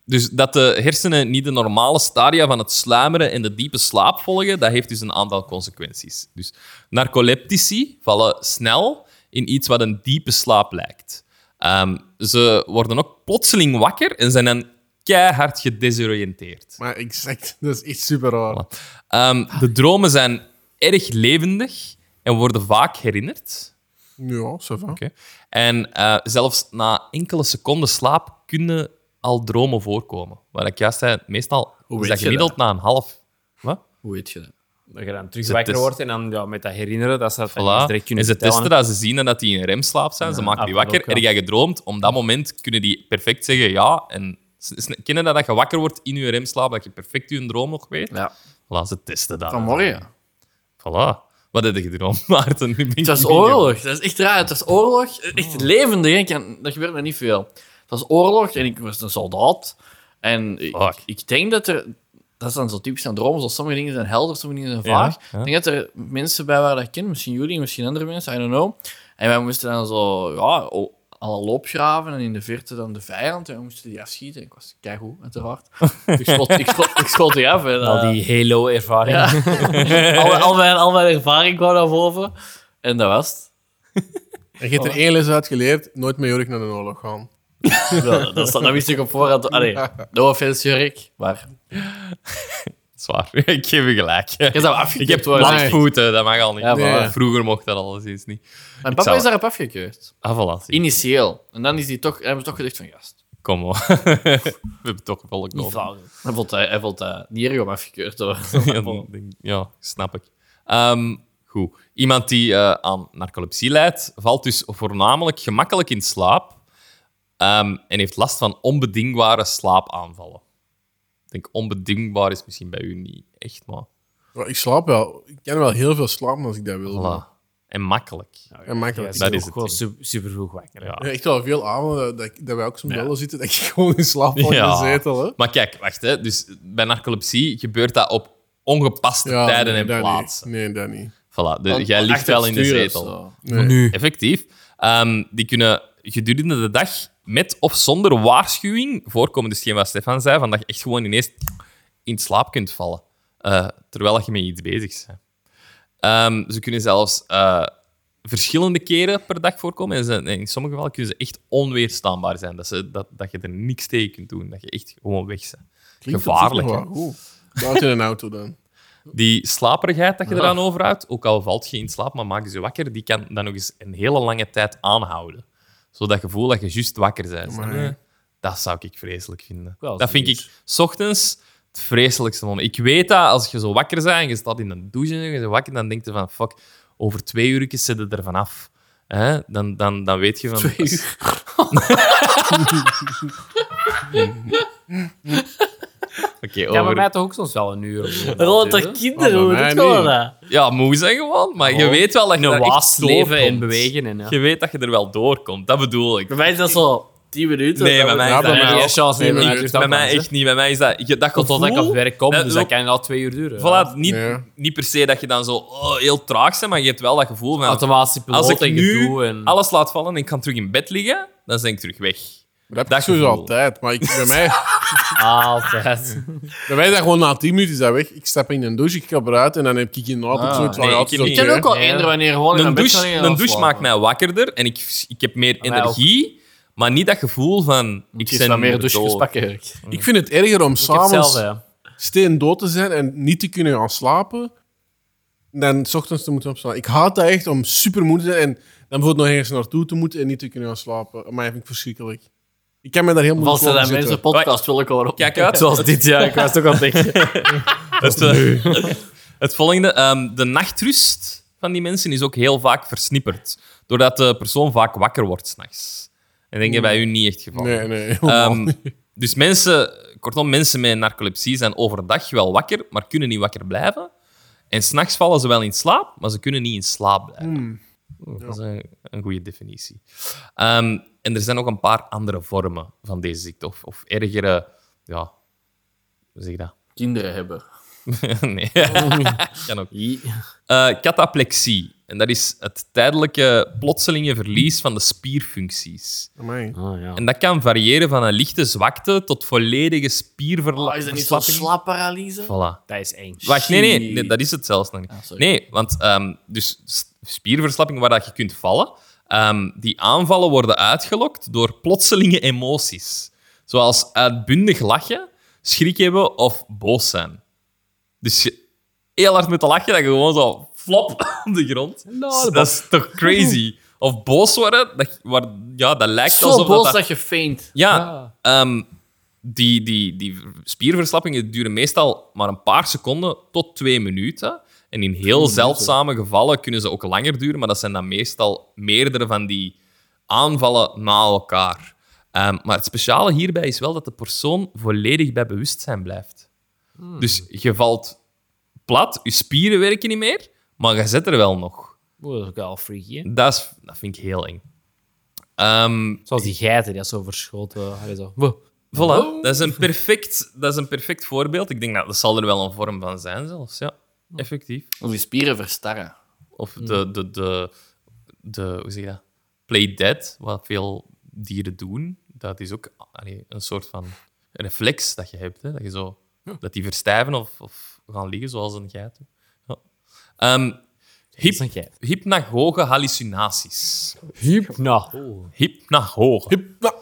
A: Dus dat de hersenen niet de normale stadia van het sluimeren en de diepe slaap volgen, dat heeft dus een aantal consequenties. Dus narcoleptici vallen snel in iets wat een diepe slaap lijkt. Ehm, ze worden ook plotseling wakker en zijn dan keihard gedesoriënteerd.
C: Maar exact, dat is echt super raar.
A: Ehm, de dromen zijn erg levendig en worden vaak herinnerd.
C: Ja, ça va.
A: Oké. En eh, zelfs na enkele seconden slaap kunnen al dromen voorkomen. Wat ik juist zei, meestal is
D: weet
A: dat
D: je
A: gemiddeld na een half. Wat?
D: Hoe weet je dat?
B: Dat je dan terug wakker
A: test-
B: wordt en dan ja, met dat herinneren, dat ze dat dan eens
A: Voilà.
B: direct
A: En
B: kunnen
A: ze
B: vertellen.
A: testen dat, ze zien en dat die in remslaap zijn. ze maken
B: ah,
A: die
B: dat
A: wakker.
B: ook wel.
A: En jij gedroomd, op dat moment kunnen die perfect zeggen ja. En ze- ze kennen dat, dat je wakker wordt in je remslaap, dat je perfect je droom nog weet.
D: Ja.
A: Voilà, ze testen dat.
D: Vanmorgen.
A: Voilà. Wat heb je gedroomd, Maarten? Nu ben ik
D: Het was
A: benieuwd.
D: oorlog. Dat is echt raar. Het was oorlog.
A: Oh.
D: Echt levendig. hè. Ik kan- Dat gebeurt me niet veel. Het was oorlog en ik was een soldaat. En ik,
A: Fuck.
D: ik denk dat er... Dat is dan zo typisch aan dromen. Zoals sommige dingen zijn helder, sommige dingen zijn
A: Ja,
D: vaag.
A: ja.
D: Ik denk dat er mensen bij waren dat ik ken. Misschien jullie, misschien andere mensen. I don't know. En wij moesten dan zo... Ja, o- al opgraven en in de verte dan de vijand. En we moesten die afschieten. Ik was keigoed, uiteraard. ik, schot, ik, schot, ik schot die af. En, eh,
B: Al die Halo-ervaring.
D: Ja. al, mijn- al, mijn, al mijn ervaring kwam naar boven. En dat was het.
C: En je hebt er één les uit geleerd, nooit met Jorik naar de oorlog gaan.
D: Ja, dat, staat- dat wist ik op voorhand. Allee, no offense, Jurk. Maar
A: Zwaar. Ik geef je gelijk.
D: ik heb dat afgekeurd
A: Ik heb
D: worden.
A: voeten, dat mag al niet.
D: Ja,
C: voilà.
A: Vroeger mocht dat alleszins niet.
D: Mijn papa
A: zou-
D: is daarop afgekeurd.
A: Ah, voilà. zie.
D: Initieel. En dan is die toch, hebben ze toch gezegd van gast.
A: Kom hoor. We hebben toch een volk nodig.
D: Hij vond dat, hij vond dat niet erg om afgekeurd te worden.
A: Ja, dan denk- ja, snap ik. Ehm, goed. Iemand die eh, aan narcolepsie lijdt, valt dus voornamelijk gemakkelijk in slaap ehm, en heeft last van onbedingbare slaapaanvallen. Ik denk onbedingbaar is misschien bij u niet echt, maar
C: Maar ik slaap wel. Ik kan wel heel veel slapen als ik dat wil.
A: voilà. En makkelijk.
C: En makkelijk.
A: Dat
B: dat
A: is
B: is
A: het,
B: gewoon
A: ja.
B: super, vroeg wakker.
A: Ja.
C: Ja, echt wel veel avonden dat, ik- dat wij ook soms wel zitten, dat ik gewoon in slaap val in
A: Ja.
C: de zetel. Hè.
A: Maar kijk, wacht. Hè. Dus bij narcolepsie gebeurt dat op ongepaste
C: Ja,
A: tijden
C: nee,
A: en
C: dat
A: plaatsen.
C: Niet. Nee, dat niet.
A: Voilà, de- jij ligt wel in de
D: Achter het
A: zetel.
D: stuur of zo.
C: Nee.
B: Nu.
A: Effectief. Ehm, die kunnen gedurende de dag met of zonder waarschuwing voorkomen. Dus geen wat Stefan zei, van dat je echt gewoon ineens in slaap kunt vallen. eh, terwijl je met iets bezig bent. Ehm, ze kunnen zelfs eh, verschillende keren per dag voorkomen. En ze- en in sommige gevallen kunnen ze echt onweerstaanbaar zijn. Dat, ze, dat, dat je er niks tegen kunt doen. Dat je echt gewoon weg bent.
C: Klinkt
A: Gevaarlijk.
C: op zich
A: hè.
C: nog wel goed. Buiten een auto dan.
A: Die slaperigheid dat je eraan overhoudt, ook al valt je in slaap, maar maak je ze wakker, die kan dan nog eens een hele lange tijd aanhouden. Zo dat gevoel dat je juist wakker bent.
C: Maar-
A: Eh, Dat zou ik vreselijk vinden.
B: Wel,
A: dat vind
B: zoiets.
A: ik s ochtends het vreselijkste moment. Ik weet dat als je zo wakker bent en je staat in een douche en je bent wakker, dan denk je van fuck, over twee uur zit je er vanaf. Hè? Dan, dan, dan weet je van...
D: Twee uur.
A: Oké,
B: Ja, maar
A: over-
B: mij toch ook soms wel een uur. of zo.
D: Rolle dat
C: Maar
D: kinderen, hoe
C: bij
D: doet
C: mij
D: gewoon
C: niet.
D: dat?
A: Ja, moe zijn gewoon, maar je
B: Gewoon
A: weet wel dat je
B: Oh. Een
A: er
B: waas
A: echt
B: leven en
A: doorkomt.
B: bewegen. En, ja.
A: Je weet dat je er wel doorkomt, dat bedoel ik.
D: Bij mij is dat zo 10 minuten.
A: Nee, bij
D: Dan-
A: mij
C: Ja,
A: is
C: bij
A: dat
C: mij
A: echt-
C: ook.
B: Geen chance,
C: Nee,
B: nee, bij
C: maar
B: mij
C: dat
B: duurt
A: Bij
B: dat
A: mij
B: lang,
A: echt niet. Bij mij is dat... je- Dat gevoel,
B: Totdat ik op werk kom,
A: dat-
B: dus dat kan al twee uur duren. ja.
A: Voilà, niet,
C: Ja.
A: niet per se dat je dan zo oh, heel traag bent, maar je hebt wel dat gevoel van...
B: Automatische piloot
A: als ik
B: en
A: nu
B: gedoe. En...
A: alles laat vallen en ik kan terug in bed liggen, dan ben ik terug weg.
C: Maar dat
A: Dat
C: heb ik sowieso
A: gevoel.
C: altijd. Maar ik, bij, mij,
B: Altijd.
C: bij mij is dat gewoon na 10 minuten is dat weg. Ik stap in een douche, ik ga eruit en dan heb ik in een auto
D: Ah.
C: zoiets van,
A: Nee,
C: ja,
A: ik
C: het is
A: niet.
D: Ik
C: oké.
D: kan ook al
B: Nee.
D: eender wanneer gewoon in
A: Een
D: mijn bed
A: douche,
D: gaan liggen
A: een
D: en
A: douche
D: afslapen.
A: maakt mij wakkerder en ik, ik heb meer
B: mij ook.
A: energie, maar niet dat gevoel van... Ik
D: Het is wat
A: ben
D: meer
A: meer
D: douches
A: dood.
D: pakken. Jurk.
C: Ik vind het erger om
B: Ik heb hetzelfde,
A: eh,
C: s'avonds
B: ja.
C: steen dood te zijn en niet te kunnen gaan slapen, dan 's ochtends te moeten opstaan. Ik haat dat echt om super moe te zijn en dan bijvoorbeeld nog ergens naartoe te moeten en niet te kunnen gaan slapen. Maar dat vind ik verschrikkelijk. Ik kan me daar helemaal
D: Vals
C: niet
D: dat
C: over zitten.
D: mensen podcast willen komen op.
A: Kijk uit,
B: Zoals dit, ja. Ik was ook aan het denken.
A: Het, eh, het volgende, ehm, de nachtrust van die mensen is ook heel vaak versnipperd. Doordat de persoon vaak wakker wordt s'nachts. En denk je bij u niet echt geval.
C: Nee, nee. helemaal
A: Ehm,
C: niet.
A: dus mensen, kortom, mensen met narcolepsie zijn overdag wel wakker, maar kunnen niet wakker blijven. En s'nachts vallen ze wel in slaap, maar ze kunnen niet in slaap blijven. Oeh, Dat is een, een goede definitie. Ehm, en er zijn ook een paar andere vormen van deze ziekte. Of, of ergere, ja, hoe zeg je dat?
D: Kinderen hebben.
A: nee, kan ook. Eh, cataplexie. En dat is het tijdelijke plotselinge verlies van de spierfuncties.
C: Amai.
B: Ah, ja.
A: En dat kan variëren van een lichte zwakte tot volledige spierverlamming.
D: Ah, is dat niet zo'n slapparalyse?
A: Voilà.
B: Dat is eng.
A: Wacht, nee, nee, nee, dat is het zelfs nog niet.
D: Ah, sorry.
A: nee, want ehm, dus s- spierverslapping waar dat je kunt vallen, ehm, die aanvallen worden uitgelokt door plotselinge emoties. Zoals uitbundig lachen, schrik hebben of boos zijn. Dus je, heel hard met te lachen, dat je gewoon zo flop op de grond.
B: Nou,
A: dat is toch crazy? Of boos worden, dat, waar, ja, dat lijkt
D: Zo
A: alsof
D: boos
A: dat...
D: dat je feint.
A: Ja, ehm, die, die, die spierverslappingen duren meestal maar een paar seconden tot twee minuten. En in heel zeldzame gevallen kunnen ze ook langer duren, maar dat zijn dan meestal meerdere van die aanvallen na elkaar. Ehm, maar het speciale hierbij is wel dat de persoon volledig bij bewustzijn blijft. Dus je valt plat, je spieren werken niet meer, maar je zit er wel nog.
B: Oeh, dat is ook wel freaky, hè?
A: Dat, is, dat vind ik heel eng. Ehm,
B: Zoals die geiten, die dat zo verschoten. eh, Allee, zo. Wow.
A: Voilà, dat, is een perfect, dat is een perfect voorbeeld. Ik denk, nou, dat zal er wel een vorm van zijn zelfs, ja. Effectief.
D: Of je spieren verstarren.
A: Of de, de, de, de hoe zeg je dat? Play dead, wat veel dieren doen. Dat is ook allee, een soort van reflex dat je hebt. Hè? Dat, je zo, dat die verstijven of, of gaan liggen, zoals een geit. doet. Ja. Ehm,
B: is een geit. Oh.
A: hypnagoge hallucinaties.
B: Hypnagogen.
A: Hypnagoge.
C: Nou,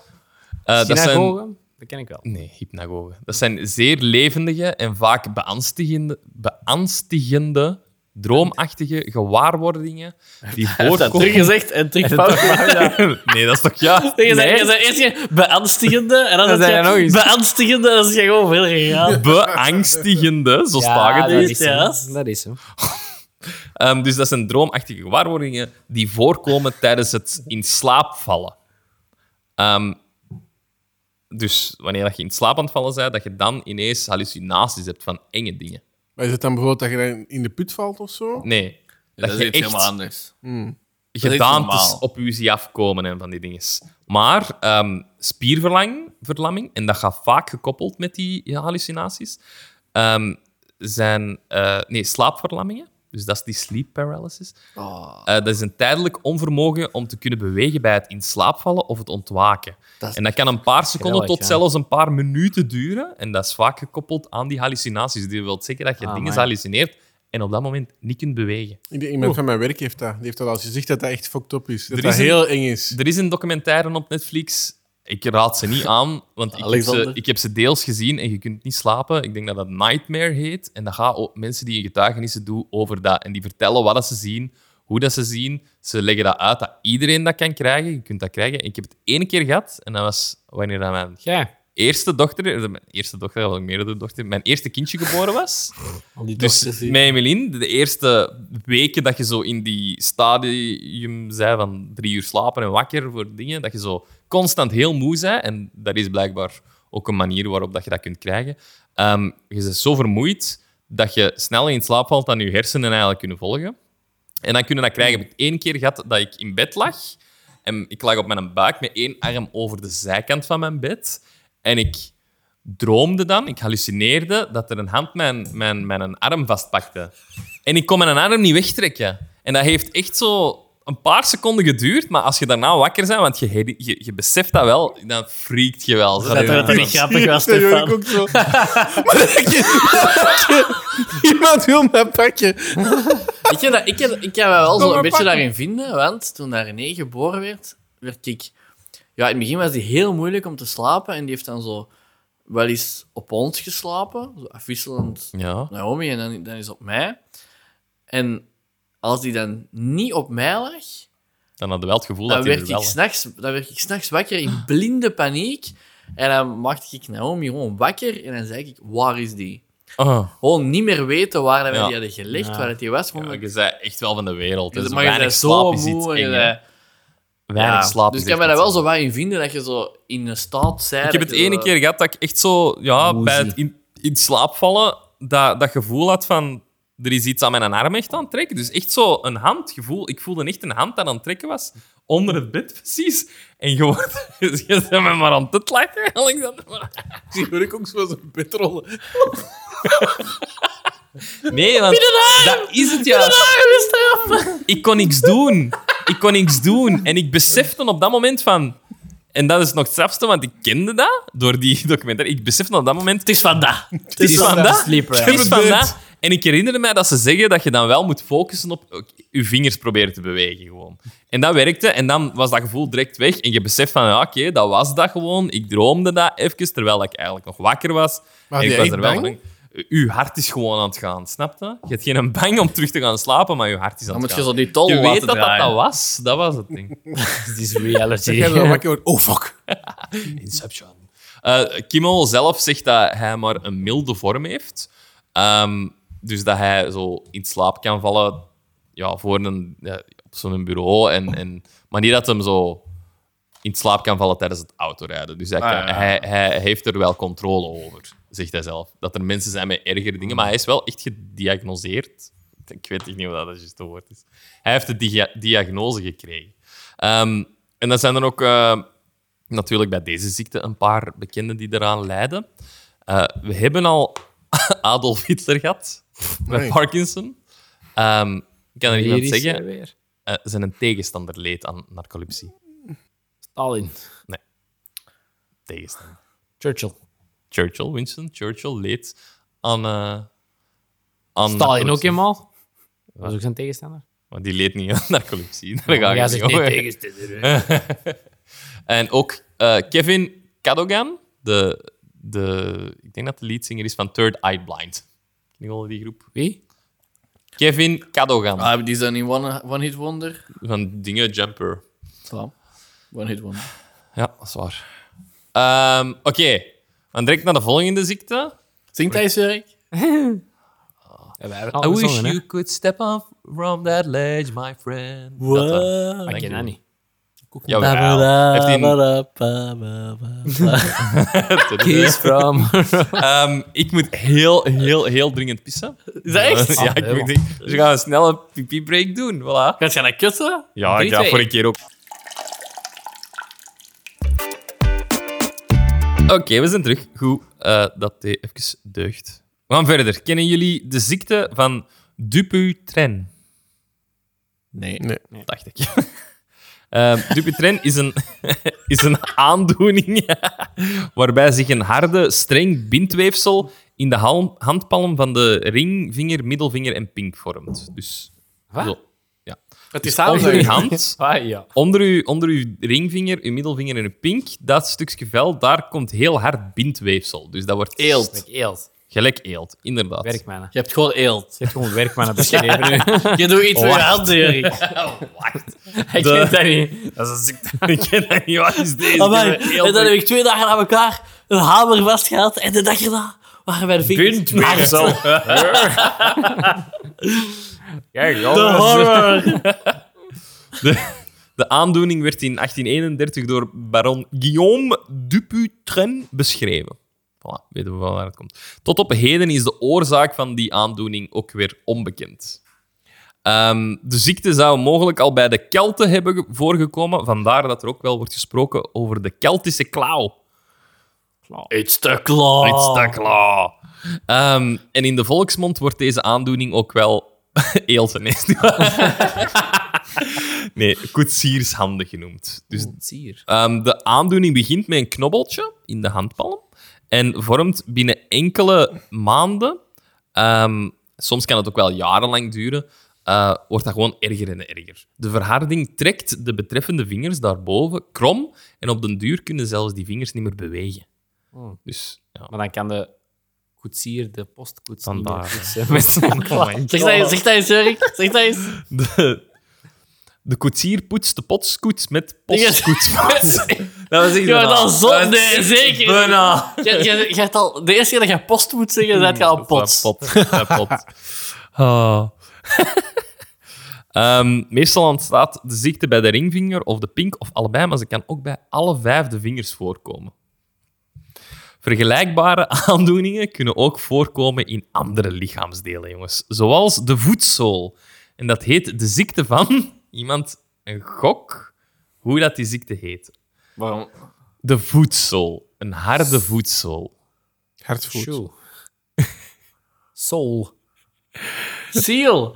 A: Eh, dat zijn
B: Dat ken ik wel.
A: Nee, hypnagogen. Dat zijn zeer levendige en vaak beangstigende, beangstigende droomachtige gewaarwordingen die voorkomen...
D: gezegd en terug fout
A: Nee, dat is toch juist?
B: Nee.
D: Nee. Je zei eerst je beangstigende en dan,
B: Dan
D: dan
B: zei
D: je
B: je nog iets.
D: beangstigende en dan is je gewoon verder gegaan.
A: Beangstigende, zo stagen die.
B: dat is
D: juist.
B: hem. Dat is hem.
A: Ehm, dus dat zijn droomachtige gewaarwordingen die voorkomen tijdens het in slaap vallen. Ehm, dus wanneer dat je in slaap aan het vallen bent, dat je dan ineens hallucinaties hebt van enge dingen.
C: Maar is het dan bijvoorbeeld dat je dan in de put valt of zo?
A: Nee, dat,
D: Dat is
A: je
D: iets helemaal
A: echt
D: anders. Dat is
A: gedaantes
D: normaal.
A: op u zie afkomen en van die dingen. Maar ehm spierverlamming, en dat gaat vaak gekoppeld met die ja, hallucinaties, ehm, zijn eh, nee, slaapverlammingen. Dus dat is die sleep paralysis.
D: Ah.
A: Eh, dat is een tijdelijk onvermogen om te kunnen bewegen bij het in slaap vallen of het ontwaken.
D: Dat is
A: en dat kan een paar seconden
B: geweldig,
A: tot
B: ja.
A: zelfs een paar minuten duren. En dat is vaak gekoppeld aan die hallucinaties. Die wil zeggen dat je
B: Ah,
A: dingen
B: amai.
A: hallucineert en op dat moment niet kunt bewegen.
C: Ik denk, iemand van mijn werk heeft dat. Die heeft dat al gezegd dat dat echt fucked up is. Dat
A: Er
C: dat
A: is een-
C: heel eng is.
A: Er is een documentaire op Netflix. Ik raad ze niet aan, want ik heb, ze,
D: Alexander.
A: ik heb ze deels gezien en je kunt niet slapen. Ik denk dat dat Nightmare heet. En dat gaat ook mensen die een getuigenissen doen over dat. En die vertellen wat dat ze zien, hoe dat ze zien. Ze leggen dat uit dat iedereen dat kan krijgen. Je kunt dat krijgen. Ik heb het één keer gehad en dat was wanneer dat mijn
B: Ja.
A: eerste dochter, eh, mijn eerste dochter, had ik meerdere dochter, mijn eerste kindje geboren was.
B: Al die
A: Dus met Emeline, de eerste weken dat je zo in die stadium zei van drie uur slapen en wakker voor dingen, dat je zo constant heel moe bent. En dat is blijkbaar ook een manier waarop dat je dat kunt krijgen. Ehm, je bent zo vermoeid dat je sneller in slaap valt dan je hersenen eigenlijk kunnen volgen. En dan kunnen we dat krijgen. Ik heb één keer gehad dat ik in bed lag. En ik lag op mijn buik met één arm over de zijkant van mijn bed. En ik droomde dan, ik hallucineerde, dat er een hand mijn, mijn, mijn arm vastpakte. En ik kon mijn arm niet wegtrekken. En dat heeft echt zo een paar seconden geduurd. Maar als je daarna wakker bent, want je, heri- je, je beseft dat wel, dan freakt je wel.
D: Dat
A: Dat-
D: het niet grappig was,
C: Dat hoor ik
D: Stefan.
C: ook zo. Maar dat je- dat je- Iemand wil mij pakken.
D: Ik kan, dat, ik, kan, ik kan me wel
C: Kom
D: zo
C: maar
D: een beetje
C: pakken.
D: daarin vinden, want toen daar René geboren werd, werd ik... Ja, in het begin was die heel moeilijk om te slapen en die heeft dan zo wel eens op ons geslapen, zo afwisselend
A: Ja.
D: Naomi en dan, dan is het op mij. En als die dan niet op mij lag,
A: Dan had je wel het gevoel
D: dan
A: dat hij
D: werd,
A: er wel...
D: ik s'nachts, dan werd ik s'nachts wakker in blinde paniek. En dan maakte ik Naomi gewoon wakker en dan zei ik, waar is die?
A: Oh.
D: Gewoon niet meer weten waar dat we
A: Ja.
D: die hadden gelegd,
B: Ja.
D: waar dat die was. Gewoon
A: Ja,
D: dat-
A: je bent echt wel van de wereld. Dus
D: maar je
A: weinig
D: bent
A: slaap
D: zo
A: is iets
D: moe. en je
A: eng, hè.
D: bent-
A: Weinig
D: ja.
A: slaap
D: Dus
A: is
D: ik kan me
A: echt
D: daar wel
A: iets
D: zo eh, wat in vinden, dat je zo in een staat bent...
A: Ik heb
D: dat
A: het
D: je
A: ene
D: zo-
A: keer gehad dat ik echt zo ja,
B: Moezie.
A: bij het in, in slaap vallen dat, dat gevoel had van er is iets aan mijn arm echt aan het trekken. Dus echt zo een handgevoel. Ik voelde echt een hand dat aan het trekken was onder het bed precies. En je wordt je bent me maar aan het lachen, Alexander.
C: Die hoor ik ook zo als een bedrollen.
A: Nee, want dat is het juist. Ik kon niks doen. Ik kon niks doen. En ik besefte op dat moment van... En dat is nog het strafste, want ik kende dat door die documentaire. Ik besefte op dat moment...
B: Het is van dat. Het
A: is van dat.
B: Sleeper.
A: Het is van dat. En ik herinnerde mij dat ze zeggen dat je dan wel moet focussen op ook je vingers proberen te bewegen. Gewoon. En dat werkte. En dan was dat gevoel direct weg. En je beseft van, ja, oké, dat was dat gewoon. Ik droomde dat even, terwijl ik eigenlijk nog wakker was.
C: Maar
A: en
C: had
A: ik
C: je
A: was
C: echt bang?
A: Uw hart is gewoon aan het gaan, snap je? Je hebt geen bang om terug te gaan slapen, maar je hart is aan het
D: Dan moet je
A: gaan.
D: zo die tol
A: je
D: laten
A: weet dat dat,
D: draaien.
A: dat was. Dat was het ding.
B: This is reality.
C: Ik heb wel wakker geworden. Oh, fuck.
A: Inception. Eh, Kimmel zelf zegt dat hij maar een milde vorm heeft. Ehm, dus dat hij zo in slaap kan vallen ja, voor een, ja, op zo'n bureau. En, en, maar niet dat hem zo in slaap kan vallen tijdens het autorijden. Dus hij, kan-
D: Ah, ja.
A: hij, hij heeft er wel controle over, zegt hij zelf. Dat er mensen zijn met ergere dingen, maar hij is wel echt gediagnoseerd. Ik weet echt niet of dat het juiste woord is. Hij heeft de dia- diagnose gekregen. Ehm, en dan zijn er ook eh, natuurlijk bij deze ziekte een paar bekenden die eraan lijden. Eh, we hebben al Adolf Hitler gehad met
C: Nee.
A: Parkinson. Ehm, ik kan er
B: Hier
A: iemand
B: is
A: zeggen,
B: hij weer.
A: eh, zijn tegenstander leed aan narcolepsie.
B: Stalin.
A: Tegenstander.
B: Churchill.
A: Churchill, Winston Churchill leed aan... eh aan
B: Stalin ook
A: narcolepsie.
B: helemaal. Dat was ook zijn tegenstander.
A: Want die leed niet aan narcolepsie. Daar
B: Maar
A: ga
B: jij
A: ik niet
B: zegt niet
A: over.
B: tegenstander.
A: En ook eh, Kevin Cadogan, de, de, ik denk dat de leadzanger is van Third Eye Blind. Ken je wel die groep?
B: Wie?
A: Kevin Cadogan,
D: Ah, die zijn in One, one Hit Wonder.
A: van Dingen Jumper.
D: Voilà. One Hit Wonder.
A: Ja, dat is waar. Ehm, Oké, dan direct naar de volgende ziekte.
D: Zingt hij eens, Erik?
B: Ja, wij hebben het al gezongen, hè?
A: could step off from that ledge, my friend. Dat dan.
E: Wow.
B: Maar ik ken dat niet.
A: Jawel. Heeft hij een-
B: Kies from...
A: Ehm, ik moet heel, heel, heel dringend pissen.
D: Is dat echt?
A: ja, ik moet dringend- Dus we gaan een snelle pipi break doen. Voilà.
D: Gaat je naar kussen?
A: Ja,
B: Drie,
A: ik ga
B: twee.
A: voor een keer ook. Oké, we zijn terug. Goed eh, dat dit even deugt. We gaan verder. Kennen jullie de ziekte van Dupuytren?
D: Nee.
A: Dacht ik. Ehm, Dupuytren is een, is een aandoening waarbij zich een harde, streng bindweefsel in de hal- handpalm van de ringvinger, middelvinger en pink vormt. Dus
B: Wat?
A: zo. Ja.
D: Het
A: Dus
D: is
A: onder
D: samen.
A: je hand
B: Ah, ja.
A: onder uw, onder uw ringvinger, uw middelvinger en uw pink, dat stukje vel, daar komt heel hard bindweefsel. Dus dat wordt
B: Ik
A: eelt.
B: eelt.
A: Gelijk eelt, inderdaad.
B: Werkmannen.
D: Je hebt gewoon eelt. Oh.
B: Je hebt gewoon werkmannen beschreven nu.
D: Je doet iets met je hand, Erik.
B: Ik
A: De-
B: weet dat niet.
A: Dat is een ziekte. Ik ken dat niet. Wat is deze?
E: Amai,
A: Ik heb
E: en dan
A: een
E: heb
A: eelt-
E: ik twee dagen aan elkaar een hamer vastgehaald en de dag erna waren mijn vingers
B: Bindweefsel. Kijk,
E: De horror.
A: De aandoening werd in 1831 door baron Guillaume Dupuytren beschreven. Voilà, weten we van waar het komt. Tot op heden is de oorzaak van die aandoening ook weer onbekend. Ehm, de ziekte zou mogelijk al bij de Kelten hebben ge- voorgekomen, vandaar dat er ook wel wordt gesproken over de Keltische klauw.
D: It's the claw.
A: It's the claw. Ehm, en in de volksmond wordt deze aandoening ook wel eeltenees. nee, koetsiershandig genoemd. Dus Ehm, de aandoening begint met een knobbeltje in de handpalm en vormt binnen enkele maanden, ehm, soms kan het ook wel jarenlang duren, eh, wordt dat gewoon erger en erger. De verharding trekt de betreffende vingers daarboven krom en op den duur kunnen zelfs die vingers niet meer bewegen.
B: Hmm.
A: Dus ja,
B: Maar dan kan de koetsier de postkoets niet meer
A: Vandaar.
B: koetsen met zijn klaar.
D: Zeg dat eens, zeg dat eens, Erik. Zeg dat eens.
A: de, de koetsier poetst de potskoets met postkoetspoets. dat was echt
D: Je wordt
A: banaal.
D: al
A: Dat
D: zot.
A: is
D: Nee,
A: echt
D: zeker.
A: banaal.
D: Je, je, je hebt al, de eerste keer dat je post moet zeggen, dat je al
A: eh,
D: pot.
A: Pot. Ja, pot. Ah. Ehm, meestal ontstaat de ziekte bij de ringvinger of de pink of allebei, maar ze kan ook bij alle vijf de vingers voorkomen. Vergelijkbare aandoeningen kunnen ook voorkomen in andere lichaamsdelen, jongens. Zoals de voetzool. En dat heet de ziekte van iemand, een gok, hoe dat die ziekte heet.
D: Waarom?
A: De voetzool. Een harde voetzool.
C: Hartvoet.
B: Shoe. Soul. Seal.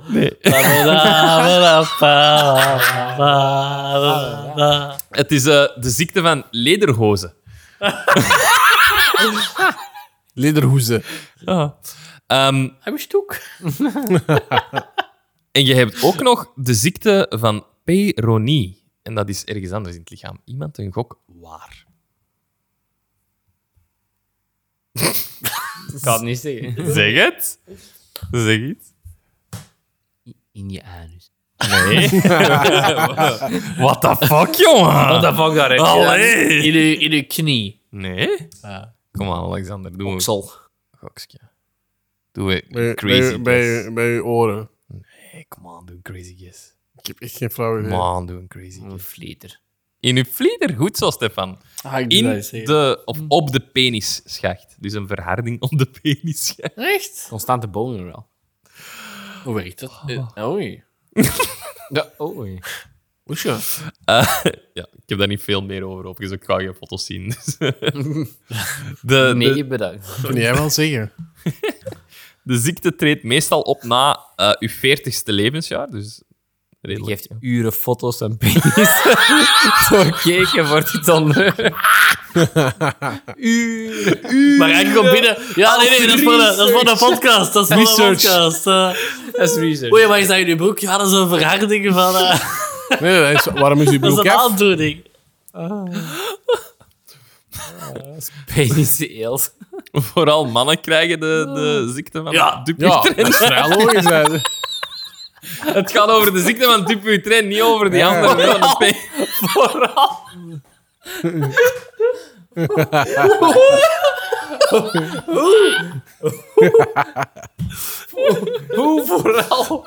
A: Het is eh, de ziekte van lederhozen.
C: Lederhoezen.
A: Ehm,
B: Heb je stoek?
A: en je hebt ook nog de ziekte van Peyronie. En dat is ergens anders in het lichaam. Iemand een gok waar.
B: Ik kan het niet zeggen.
A: Zeg het. Zeg iets.
B: In je anus.
A: What the fuck, jongen?
B: What the fuck daar, hè?
A: Allee.
B: In je, in je knie.
A: Nee? Kom aan, Alexander. Doe een
B: Oksel.
A: gokje. Doe
C: Bij,
A: een crazy
C: bij, bij,
A: guess.
C: bij je oren.
A: Hey, Kom aan, doe een crazy guess.
C: Ik heb echt geen flauw idee.
A: Kom aan, doe een crazy guess.
B: Een vlieter.
A: In uw vlieder, goed zo, Stefan.
D: Ah, ik doe
A: In
D: dat eens, hè.
A: de, of op de penisschacht. Dus een verharding op de penisschacht.
D: Echt?
B: Constante boner wel.
D: Hoe werkt dat? Eh, oei.
B: Ja, oei.
C: Oesja.
A: Eh, ja, ik heb daar niet veel meer over overigens. Ik ga geen foto's zien. Dus. De, de,
B: Nee, bedankt.
C: Kun jij wel zeggen?
A: de ziekte treedt meestal op na eh, uw veertigste levensjaar. Dus
B: Je
A: redelijk.
B: geeft uren foto's en penis voor keken wordt het dan... uren, uren.
D: Maar eigenlijk komt binnen. Ja, Ah, nee, nee, dat is voor de, dat is voor de podcast. Dat is voor de
C: Research.
D: podcast. eh.
B: Dat is research.
D: oei, wat is dat in je broek? Ja, dat is een verharding van. eh,
C: Nee, dat is, waarom is uw
D: dat is
C: broek
D: een
C: af?
D: aandoening.
B: Penis eelt.
A: Vooral mannen krijgen de, de ziekte van
D: Ja.
C: Ja,
A: Dupuytren.
C: dat is vrij logisch. hè.
A: Het gaat over de ziekte van Dupuytren, niet over die
C: Ja.
A: andere. Van de pen-
B: Hoe vooral?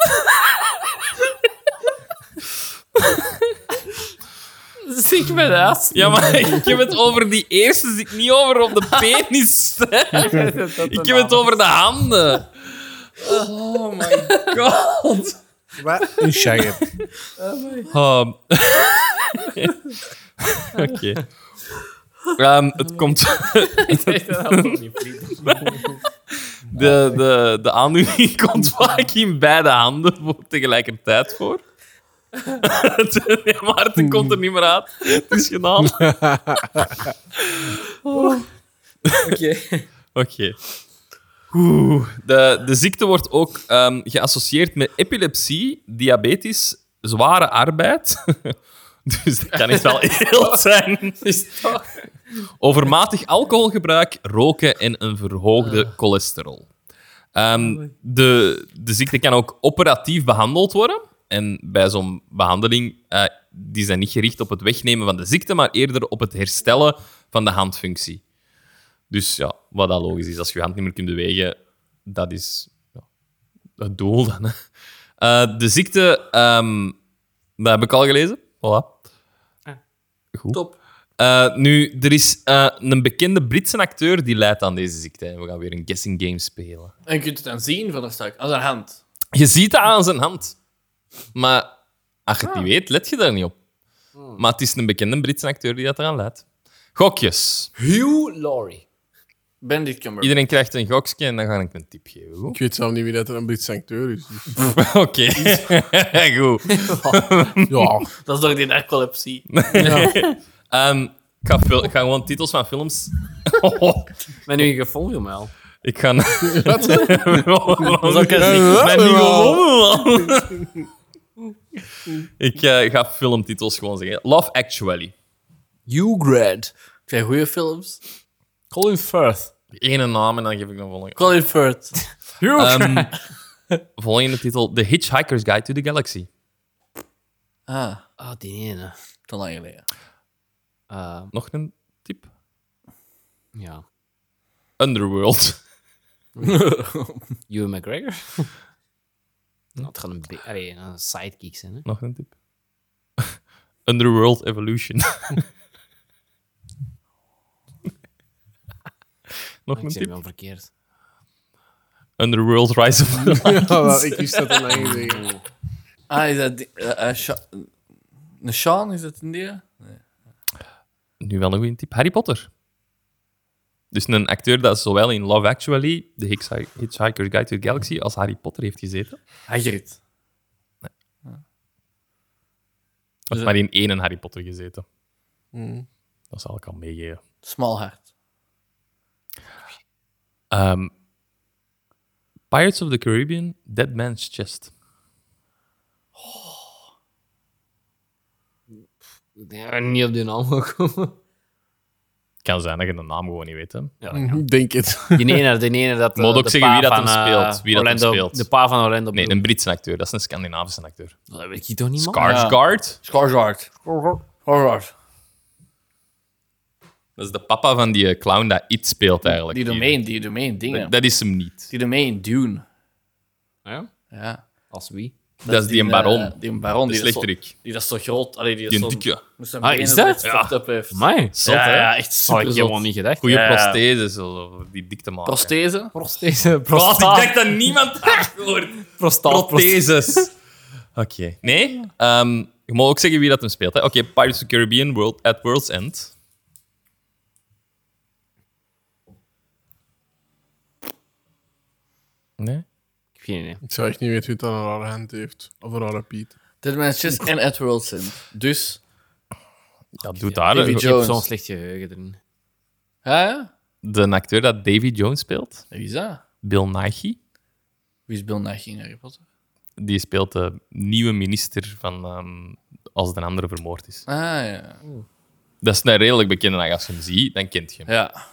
B: Ziek met uit.
A: Ja, maar ik heb het over die eerste ziekte, niet over op de penis. hè. Ik heb het over de handen. Oh my god.
C: Wat? Een shagger.
A: Ehm, Oké. Ehm, het komt. de, de, de aandoening komt vaak in beide handen voor- tegelijkertijd voor. Ja, Maarten komt er niet meer uit. Het is gedaan. Oké. Oké. Oeh, De, de ziekte wordt ook ehm, geassocieerd met epilepsie, diabetes, zware arbeid. dus dat kan echt wel heel zijn. Overmatig alcoholgebruik, roken en een verhoogde cholesterol. Ehm, de, de ziekte kan ook operatief behandeld worden. En bij zo'n behandeling eh, die zijn niet gericht op het wegnemen van de ziekte, maar eerder op het herstellen van de handfunctie. Dus ja, wat dat logisch is, als je je hand niet meer kunt bewegen, dat is ja, het doel dan. Hè. Eh, de ziekte, ehm, dat heb ik al gelezen. Voilà. Goed.
B: Top.
A: Eh, nu, er is eh, een bekende Britse acteur die lijdt aan deze ziekte. En we gaan weer een guessing game spelen.
D: En je kunt het dan zien van daar stuk. Als een hand.
A: Je ziet het aan zijn hand. Maar als je het niet weet, let je daar niet op. Maar het is een bekende Britse acteur die dat eraan leidt. Gokjes.
B: Hugh Laurie.
D: Bandit Cumber.
A: Iedereen krijgt een gokje en dan ga ik een tip geven. goed?
C: Ik weet zelf niet wie dat een Britse acteur is. Dus-
A: Oké. Goed.
C: Ja,
D: Dat is door die narcolepsie.
A: Ehm, ik, ga fil- ik ga gewoon titels van films.
B: Maar nu je gevonden wel.
A: ik ga.
B: ook een ziekte.
A: Ik ben niet gewonnen, man. Ik eh, ga filmtitels gewoon zeggen. Love Actually.
B: Hugh Grant.
D: Ik zijn goede films.
B: Colin Firth.
A: Ene naam en dan geef ik een volgende.
D: Colin Firth.
B: Hugh
A: Ehm, volgende titel: The Hitchhiker's Guide to the Galaxy.
D: Ah,
B: Ah, die ene.
D: te lang geleden.
B: Ehm,
A: Nog een tip?
B: ja.
A: Underworld.
B: Hugh McGregor. Nou, het gaat een, be- allee, een sidekick zijn, hè.
A: Nog een tip. Underworld Evolution. Nog een
B: Ik zit
A: tip.
B: wel verkeerd.
A: Underworld Rise of the
C: ja wel, ik wist dat al lang gezegd.
D: Ah, is dat... die- eh, eh, Sha- een Sean, is dat in die?
A: Nu wel een goede tip. Harry Potter. Dus een acteur dat zowel in Love Actually, The Hitchhi- Hitchhiker's Guide to the Galaxy, als Harry Potter heeft gezeten.
D: Hagrid.
A: Of
D: Dus- Mm.
A: maar in één Harry Potter gezeten. Dat zal ik al meegeven.
D: Smalhart.
A: Ehm, Pirates of the Caribbean, Dead Man's Chest.
B: Ja, niet op die naam gekomen.
A: Kan zijn dat je de naam gewoon niet weet. Hè?
C: Mhm, Denk het.
B: Die ene, die ene dat... eh,
A: Moet ook
B: de
A: zeggen
B: pa
A: wie dat
B: van,
A: hem
B: eh,
A: speelt, wie dat hem
B: Orlando-
A: speelt.
B: De pa van Orlando
A: Nee,
B: Bloom.
A: een Britse acteur. Dat is een Scandinavische acteur.
B: Dat weet ik toch niet,
D: Oh,
B: man?
A: Skarsgård.
D: Skarsgård. Skarsgård.
A: Dat is de papa van die eh, clown dat It speelt eigenlijk.
D: Die domein, die domein dingen.
A: Dat- Dat is hem niet.
D: Die domein Dune.
B: Ja?
D: Ja.
B: Als wie?
A: Dat is die baron.
D: eh, Die baron.
A: De
D: die dat zo-
A: slechterik.
D: Die dat zo groot. Allee, die dat
A: Die
D: zo-
A: dikke.
D: met zijn
B: Ah,
D: benen
B: is
D: zo
B: dat?
D: echt fucked up heeft.
B: Mij?
A: Zot,
D: Ja,
A: hè?
D: ja, echt
E: Oh,
B: Had Oh, ik
D: super
B: helemaal niet gedacht.
A: Goeie
D: Ja, ja.
A: prothese, zo, die dik te maken.
D: Prosthese.
B: Prosthese.
A: Prostaat. Ik denk dat niemand hard hoort.
B: Prostaat.
A: Protheses. Oké. Nee? Ehm, je mag ook zeggen wie dat hem speelt. hè. Oké, Pirates of the Caribbean World, at World's End. Nee?
B: Ik heb geen idee.
C: Ik zou echt niet weten wie dat een rare hand heeft. Of een rare Piet.
D: Dead Man's Chest en Ed Wilson. Dus.
A: Dat doet daar.
D: David
A: hè.
B: Ik heb
D: Jones.
B: zo'n slecht geheugen erin.
D: Ja, ja.
A: De acteur dat Davy Jones speelt,
D: Wie is dat?
A: Bill Nighy,
D: Wie is Bill Nighy in Harry Potter?
A: die speelt de nieuwe minister van ehm, als de andere vermoord is.
D: Ah, ja.
A: Dat is een redelijk bekende. naam. Als je hem ziet, dan kent je hem.
D: Ja.
A: Eh,
B: Dat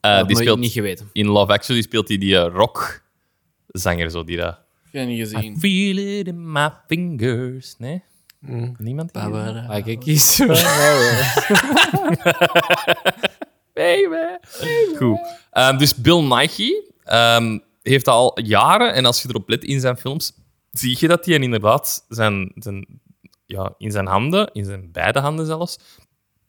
A: die
B: heb ik
A: speelt
B: niet geweten.
A: in Love Actually speelt hij die rock rockzanger zo die dat.
D: Ik heb het niet gezien.
A: Feel it in my fingers. Nee? Niemand hier?
B: Ah, kijk eens.
A: Goed. Ehm, dus Bill Nighy ehm, heeft al jaren, en als je erop let in zijn films, zie je dat hij inderdaad zijn, zijn, ja, in zijn handen, in zijn beide handen zelfs,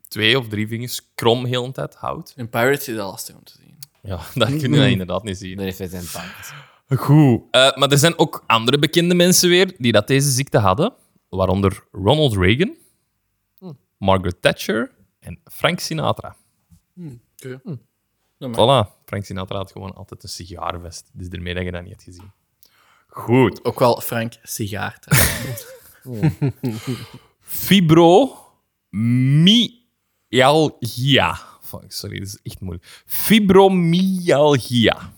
A: twee of drie vingers krom heel de tijd houdt.
D: In Pirates is dat lastig om te zien.
A: Ja, dat kun je inderdaad niet zien.
B: Dan heeft hij zijn paard.
A: Goed. Eh, maar er zijn ook andere bekende mensen weer die dat deze ziekte hadden. Waaronder Ronald Reagan, Margaret Thatcher en Frank Sinatra.
D: Oké.
A: Voilà. Frank Sinatra had gewoon altijd een sigaarvest. Dus daarmee dat je dat niet hebt gezien. Goed.
D: Ook wel Frank Sigaart.
A: Fibromyalgia. Fuck, sorry, dat is echt moeilijk. Fibromyalgia.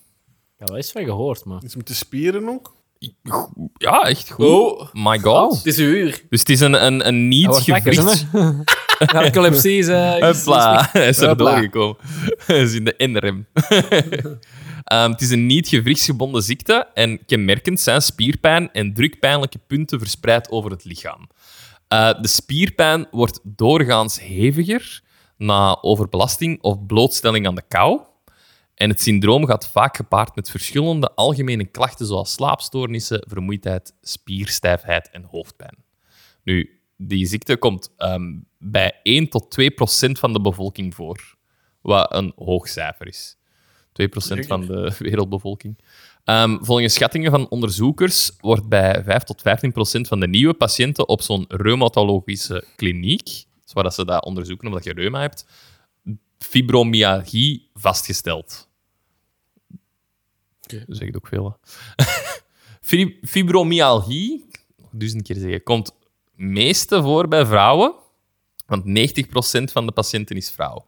B: Ja, dat is van gehoord, maar...
C: Iets met de spieren ook.
A: Ja, echt goed.
D: Oh.
A: My god.
D: Het is uw uur.
A: Dus het is een, een, een
B: Dat
A: niet
B: wordt lekker,
A: gewichts-
B: hè? Narcolepsie is... eh, is- is-
A: Hupla, hij is er
B: Hupla.
A: doorgekomen. Hij is in de inrem. Ehm, het is een niet gewrichtsgebonden ziekte en kenmerkend zijn spierpijn en drukpijnlijke punten verspreid over het lichaam. Eh, de spierpijn wordt doorgaans heviger na overbelasting of blootstelling aan de kou. En het syndroom gaat vaak gepaard met verschillende algemene klachten zoals slaapstoornissen, vermoeidheid, spierstijfheid en hoofdpijn. Nu, die ziekte komt ehm, bij 1 tot 2 procent van de bevolking voor, wat een hoog cijfer is. 2 procent van de wereldbevolking. Ehm, volgens schattingen van onderzoekers wordt bij 5 tot 15 procent van de nieuwe patiënten op zo'n reumatologische kliniek, dat is waar dat ze dat onderzoeken omdat je reuma hebt, fibromyalgie vastgesteld. Dat zegt ook veel. hè. Fib- Fibromyalgie, duizend keer zeggen, komt meeste voor bij vrouwen, want 90% van de patiënten is vrouw.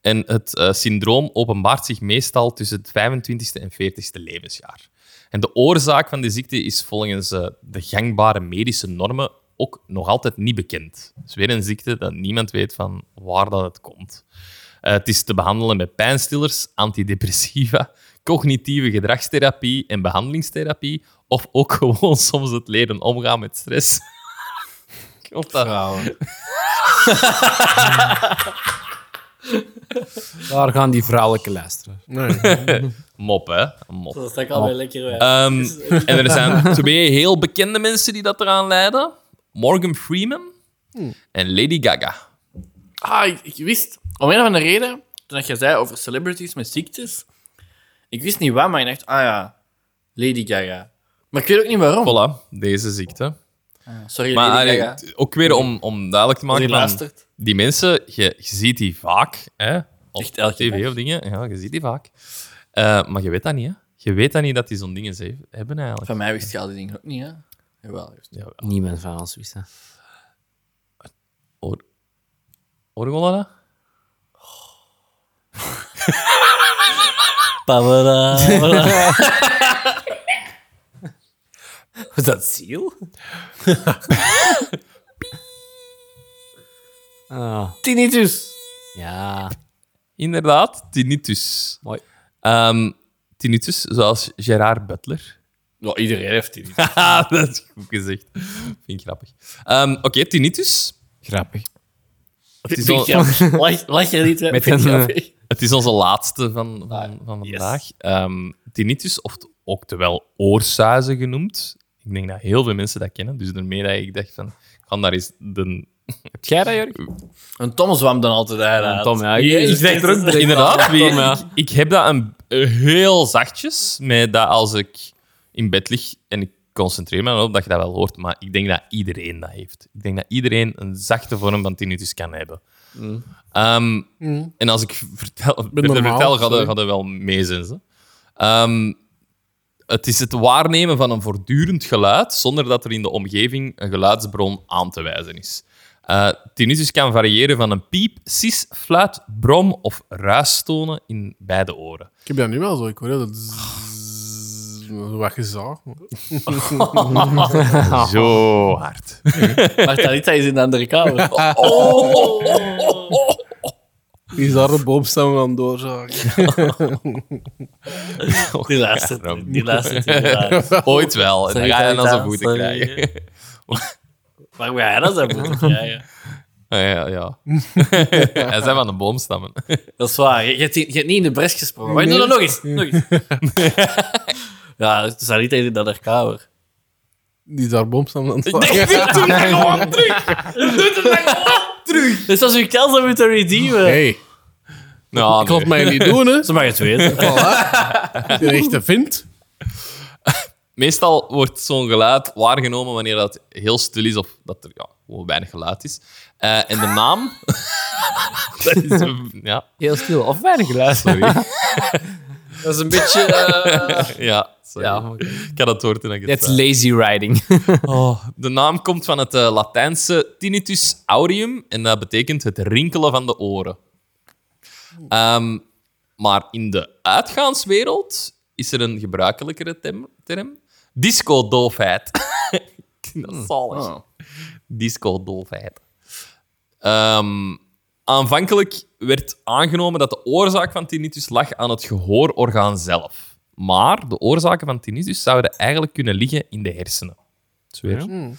A: En het eh, syndroom openbaart zich meestal tussen het 25e en 40e levensjaar. En de oorzaak van de ziekte is volgens eh, de gangbare medische normen ook nog altijd niet bekend. Het is weer een ziekte dat niemand weet van waar dat het komt. Eh, het is te behandelen met pijnstillers, antidepressiva, cognitieve gedragstherapie en behandelingstherapie. Of ook gewoon soms het leren omgaan met stress. Ik vond dat-
B: Daar gaan die vrouwelijke luisteren.
C: Nee.
A: Mop, hè? Een mop.
E: Dat stak alweer lekker weg.
A: Ehm, en er zijn twee heel bekende mensen die dat eraan leiden. Morgan Freeman
D: Hmm.
A: en Lady Gaga.
D: Ah, ik, ik wist, om een of andere reden, toen je zei over celebrities met ziektes, ik wist niet waar, maar ik dacht, ah ja, Lady Gaga. Maar ik weet ook niet waarom.
A: Voilà, deze ziekte.
D: Sorry,
A: Maar
D: Lady
A: allee,
D: Gaga.
A: t- ook weer om, om duidelijk te
D: Als
A: maken,
D: je
A: van,
D: luistert.
A: die mensen, je, je ziet die vaak. Hè? op
D: Echt elke
A: tv
D: dag.
A: of dingen. Ja, je ziet die vaak. Eh, maar je weet dat niet, hè? Je weet dat niet dat die zo'n dingen ze hebben eigenlijk.
D: Van mij wist je al die dingen ook niet, hè? Jawel, juist.
A: Ja,
B: Niemand van ons wist dat.
A: Or Orgola? dat?
E: Pamela.
B: Was dat ziel? oh,
D: Tinnitus!
B: ja.
A: Inderdaad, tinnitus.
B: Mooi.
A: Ehm, tinnitus, zoals Gerard Butler.
D: Ja, iedereen heeft tinnitus.
A: Haha, dat is goed gezegd. Vind ik grappig. Ehm, Oké, tinnitus.
B: Grappig.
A: Het is,
D: Vind
A: al-
D: je grappig? Lach, lach je niet, hè?
B: Met
D: Vind je
B: een, eh,
D: grappig?
A: het is onze laatste van,
B: Ah,
A: van, van
D: Yes.
A: vandaag. Ehm, tinnitus, of t- ook terwijl oorsuizen genoemd. Ik denk dat heel veel mensen dat kennen. Dus daarmee dat ik dacht van, ik ga daar eens de...
B: Heb jij dat, Jurk?
D: Een Tom zwam dan altijd uit.
B: Een Tom, ja. Ik- ik denk er ook direct
A: Inderdaad,
B: aan.
A: wie-
B: Tom, ja.
A: ik, ik heb dat een, eh, heel zachtjes, met dat als ik in bed lig en ik concentreer me erop dat je dat wel hoort, maar ik denk dat iedereen dat heeft. Ik denk dat iedereen een zachte vorm van tinnitus kan hebben. Ehm, En als ik vertel, verder
C: normaal,
A: vertel, gaat
C: sorry.
A: dat- gaat dat wel mee zijn. ze. Ehm, het is het waarnemen van een voortdurend geluid zonder dat er in de omgeving een geluidsbron aan te wijzen is. Eh tinnitus kan variëren van een piep, sis, fluit, brom of ruistonen in beide oren.
C: Ik heb dat nu wel zo. Ik hoor dat zzz, zo wat gezaag. man. Ah.
A: Zo hard.
D: Margarita is in de andere kamer. Oh,
C: Is daar de boomstam van doorzagen?
E: Die luistert. Die luistert. inderdaad.
A: Ooit wel. En dan
E: Sorry,
A: ga je dan zijn
E: Taritaan,
A: voeten
E: sorry.
A: krijgen.
E: Waar moet jij dat zijn moeten krijgen?
A: Ah, ja, ja. Hij zijn van de boomstammen.
D: Dat is waar. Je, je, hebt, niet- je hebt niet in de bres gesprongen. Maar je
C: Nee.
D: doet dat nog eens. Nog eens. ja, Sarita is in de andere kamer.
C: Die is daar boomstam van
E: Dus als u kans om u te redeemen.
C: Hey,
A: Nou,
C: ik had
A: nee.
C: mij niet doen, hè.
E: Ze mag het weten.
C: Als je een echte vindt.
A: Meestal wordt zo'n geluid waargenomen wanneer dat heel stil is of dat er ja, gewoon weinig geluid is. Eh, en de naam. dat is een- ja,
B: Heel stil. Of weinig geluid.
A: sorry.
D: Dat is een beetje... eh,
A: ja, sorry.
B: Ja, oké.
A: Ik had dat woord en ik het eh,
B: That's
A: zei.
B: lazy riding.
A: Oh, De naam komt van het eh, Latijnse tinnitus aureum en dat betekent het rinkelen van de oren. Ehm, maar in de uitgaanswereld is er een gebruikelijkere tem- term: disco-doofheid. Ik vind dat zalig. disco-doofheid. Ehm, aanvankelijk werd aangenomen dat de oorzaak van tinnitus lag aan het gehoororgaan zelf. Maar de oorzaken van tinnitus zouden eigenlijk kunnen liggen in de hersenen. Dus weer.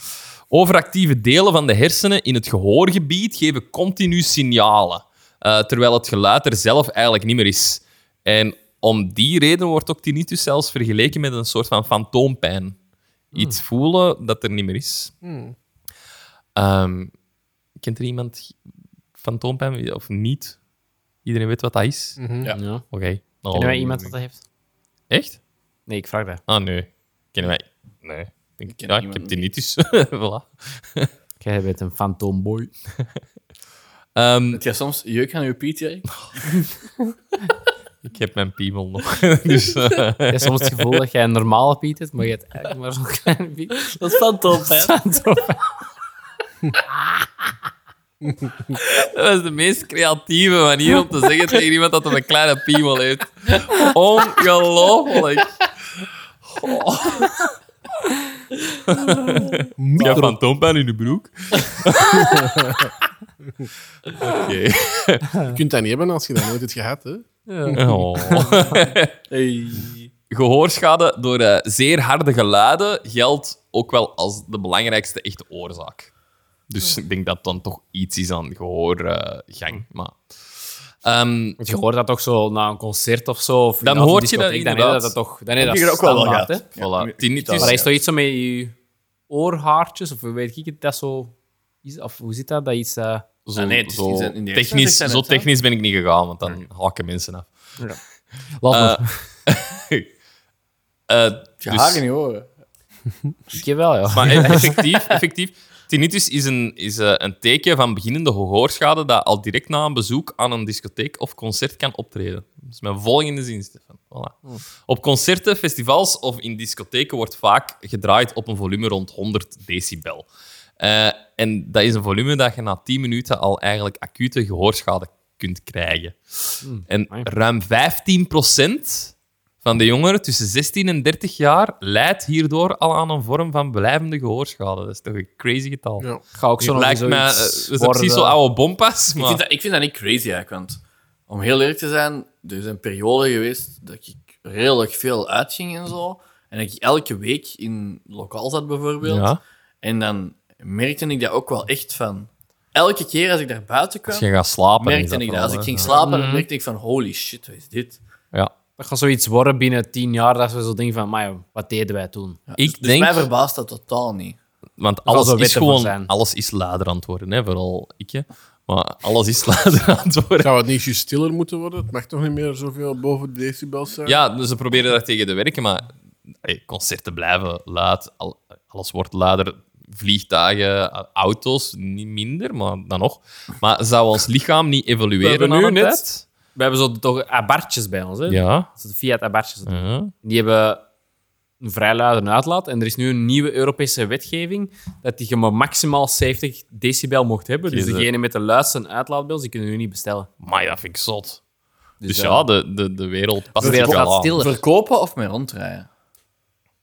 A: Overactieve delen van de hersenen in het gehoorgebied geven continu signalen, eh, terwijl het geluid er zelf eigenlijk niet meer is. En om die reden wordt ook tinnitus zelfs vergeleken met een soort van fantoompijn.
B: Hmm.
A: Iets voelen dat er niet meer is. Ehm, kent er iemand fantoompijn of niet? Iedereen weet wat dat is?
B: Ja. ja.
A: Oké. dan-
B: Kennen wij iemand dat dat heeft?
A: Echt?
B: Nee, ik vraag dat.
A: Ah, nee. Kennen wij... Nee. Ik Denk,
D: ken
A: ja, ik
D: niemand
A: heb
D: niet.
A: tinnitus. voilà.
B: Jij bent een fantoomboy.
A: Ehm,
D: Heb jij soms jeuk aan je piet, Jerry?
A: Ik heb mijn piemel nog. dus, eh,
B: Je hebt soms het gevoel dat jij een normale piet hebt, maar je hebt eigenlijk maar zo'n kleine piet.
E: Dat is van top, hè?
A: dat is de meest creatieve manier om te zeggen tegen iemand dat hij een kleine piemel heeft. Ongelooflijk. Oh. Ik heb fantoompijn in de broek. Oké.
C: Je kunt dat niet hebben als je dat nooit hebt gehad, hè.
A: Oh. Gehoorschade door eh, zeer harde geluiden geldt ook wel als de belangrijkste echte oorzaak. Dus ik denk dat dan toch iets is aan gehoorgang. maar, Ehm,
B: Want je hoort dat toch zo na een concert of zo. Of
A: Dan
B: na een
A: hoort je dat
B: discotheek, dan
A: inderdaad.
B: is dat toch. Dan is dat
D: je dat ook wel wel
B: standaard, hè?
D: gehad.
A: voilà. Tinnitus.
B: Maar dat is toch iets zo met je oorhaartjes, of hoe weet ik het, dat zo... Is, of hoe zit dat? Dat iets... eh,
A: Zo,
D: Ah, nee, het is
A: zo
D: niet in de eerste
A: technisch,
D: zin,
A: zo
D: hè?
A: technisch ben ik niet gegaan, want dan hakken mensen af.
B: laat maar.
A: Eh,
D: Je
A: dus- Eh,
D: haar niet horen.
B: ik heb wel, ja.
A: maar eff- effectief, effectief Tinnitus is, een, is eh, een teken van beginnende gehoorschade dat al direct na een bezoek aan een discotheek of concert kan optreden. Dat is mijn volgende zin, Stefan. Voilà. Op concerten, festivals of in discotheken wordt vaak gedraaid op een volume rond 100 decibel. Eh, en dat is een volume dat je na 10 minuten al eigenlijk acute gehoorschade kunt krijgen. en
B: amai.
A: ruim 15% van de jongeren tussen 16 en 30 jaar leidt hierdoor al aan een vorm van blijvende gehoorschade. Dat is toch een crazy getal.
C: Ja.
B: Ga ook zo nog
A: Lijkt
B: eens
A: mij, eh,
B: zoiets
A: we zijn precies
B: worden.
A: zo oude bompas,
D: Ik,
A: maar...
D: vind dat, ik vind dat niet crazy eigenlijk, want om heel eerlijk te zijn, er zijn perioden geweest dat ik redelijk veel uitging en zo. En dat ik elke week in lokaal zat bijvoorbeeld.
A: Ja.
D: En dan merkte ik dat ook wel echt van. Elke keer als ik daar buiten kwam,
A: Als je gaat slapen... is
D: merkte ik dat.
A: wel,
D: Als ik
A: hè.
D: ging
A: Ja.
D: slapen, dan merkte ik van holy shit, wat is dit?
A: Ja.
B: Dat gaat zoiets worden binnen tien jaar dat we zo denken van, maar wat deden wij toen?
D: Ja,
A: Ik
D: dus, dus
A: denk-
D: mij verbaast dat totaal niet.
A: Want
B: zal
A: alles
B: zo
A: is
B: witte voor
A: gewoon...
B: zijn.
A: Alles is luider aan het worden, hè. Vooral ik, hè. Maar alles is luider aan het worden.
C: Zou het niet juist stiller moeten worden? Het mag toch niet meer zoveel boven de decibels zijn?
A: Ja, dus ze proberen daar tegen te werken, maar hey, concerten blijven luid. al- alles wordt luider. Vliegtuigen, a- auto's, niet minder, maar dan nog. Maar zou ons lichaam niet evolueren
B: hebben
A: aan
B: nu
A: een
B: net-
A: tijd?
B: We hebben zo toch abartjes bij ons, hè?
A: Ja.
B: Dat is de Fiat abartjes.
A: ja.
B: Die hebben een vrij luide uitlaat. En er is nu een nieuwe Europese wetgeving dat die je maar maximaal 70 decibel mocht hebben. Dus
A: Jezus.
B: degene met de luidste uitlaatbeeld, die kunnen nu niet bestellen.
A: Maar dat vind ik zot. Dus,
B: eh,
A: ja, de, de, de wereld past
B: de wereld
A: zich wel
B: gaat
A: aan.
B: stiller.
D: Verkopen of mee rondrijden?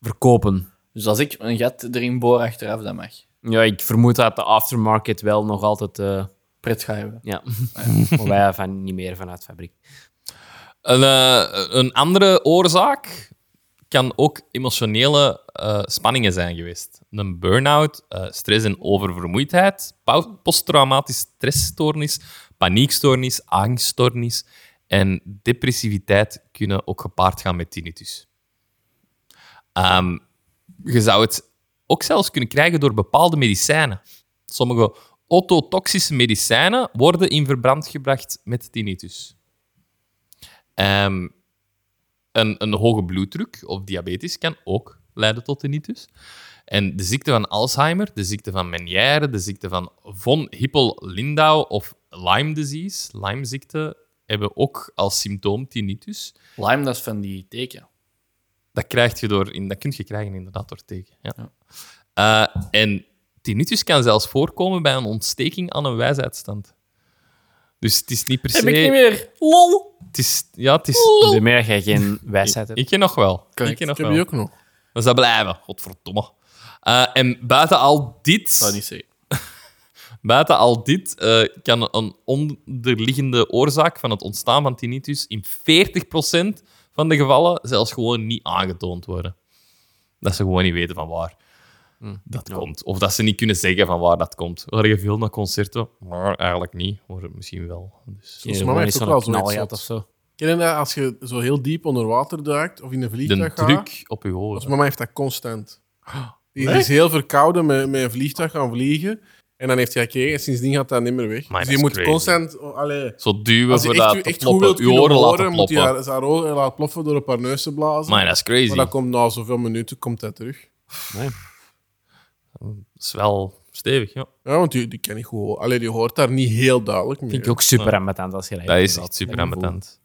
B: Verkopen.
D: Dus als ik een gat erin boor achteraf, dat mag.
B: Ja, ik vermoed dat de aftermarket wel nog altijd... eh,
D: Pret ga hebben.
B: ja, maar wij van, niet meer vanuit fabriek.
A: Een, eh, een andere oorzaak kan ook emotionele eh, spanningen zijn geweest. Een burn-out, eh, stress en oververmoeidheid, pau- posttraumatische stressstoornis, paniekstoornis, angststoornis en depressiviteit kunnen ook gepaard gaan met tinnitus. Ehm, je zou het ook zelfs kunnen krijgen door bepaalde medicijnen. Sommige ototoxische medicijnen worden in verbrand gebracht met tinnitus. Ehm, een, een hoge bloeddruk of diabetes kan ook leiden tot tinnitus. En de ziekte van Alzheimer, de ziekte van Meniere, de ziekte van von Hippel-Lindau of Lyme disease, Lyme-ziekte, hebben ook als symptoom tinnitus.
D: Lime, dat is van die teken.
A: Dat, krijg je door, in- dat kun je krijgen inderdaad door tegen. Ja.
D: Ja.
A: Eh, en tinnitus kan zelfs voorkomen bij een ontsteking aan een wijsheidstand. Dus het is niet per se...
D: meer. Lol.
A: Het is, ja, het is...
B: Daarmee dat jij geen wijsheid hebt.
A: Ik ken nog wel. Ik
D: Correct.
A: ken nog
C: Ik heb
A: wel.
C: die ook nog.
A: Dus dat blijven. Godverdomme. Eh, en buiten al
D: Dat
A: dit,
D: niet zeggen.
A: buiten al dit eh, kan een onderliggende oorzaak van het ontstaan van tinnitus in 40% van de gevallen zelfs gewoon niet aangetoond worden. Dat ze gewoon niet weten van waar
C: Hmm.
A: dat komt. Of dat ze niet kunnen zeggen van waar dat komt. Hoor je veel naar concerten? Maar eigenlijk niet. Hoor misschien wel. Dus,
C: Volgens
B: Ja,
C: mij
B: gewoon
C: heeft
B: iets
C: het
B: van een
C: ook wel
B: knal
C: zoiets zot.
B: gehad of zo.
C: Ken je dat als je zo heel diep onder water duikt of in een
A: de
C: vliegtuig gaat?
A: druk op je
C: Volgens
A: oren.
C: mij heeft dat constant. Die is heel verkouden met, met een vliegtuig gaan vliegen. En dan heeft hij gekeken en sindsdien gaat dat niet meer weg.
A: Maar
C: dus
A: dat is
C: je moet
A: crazy.
C: constant... oh, allee,
A: Zo duwen
C: als je
A: voor
C: echt,
A: dat
C: echt
A: te
C: goed wilt
A: ploppen. Je
C: kunnen
A: oren laten
C: horen, moet je
A: ploppen.
C: haar, haar oren laten ploffen door op haar neus te blazen.
A: Maar dat is crazy.
C: maar dat komt na zoveel minuten komt dat terug.
A: Dat is wel stevig, ja.
C: Ja, want die, die ken ik goed. horen. Allee, die hoort daar niet heel duidelijk meer.
B: Vind ik ook super ambetant als je
A: Dat is echt super ambetant.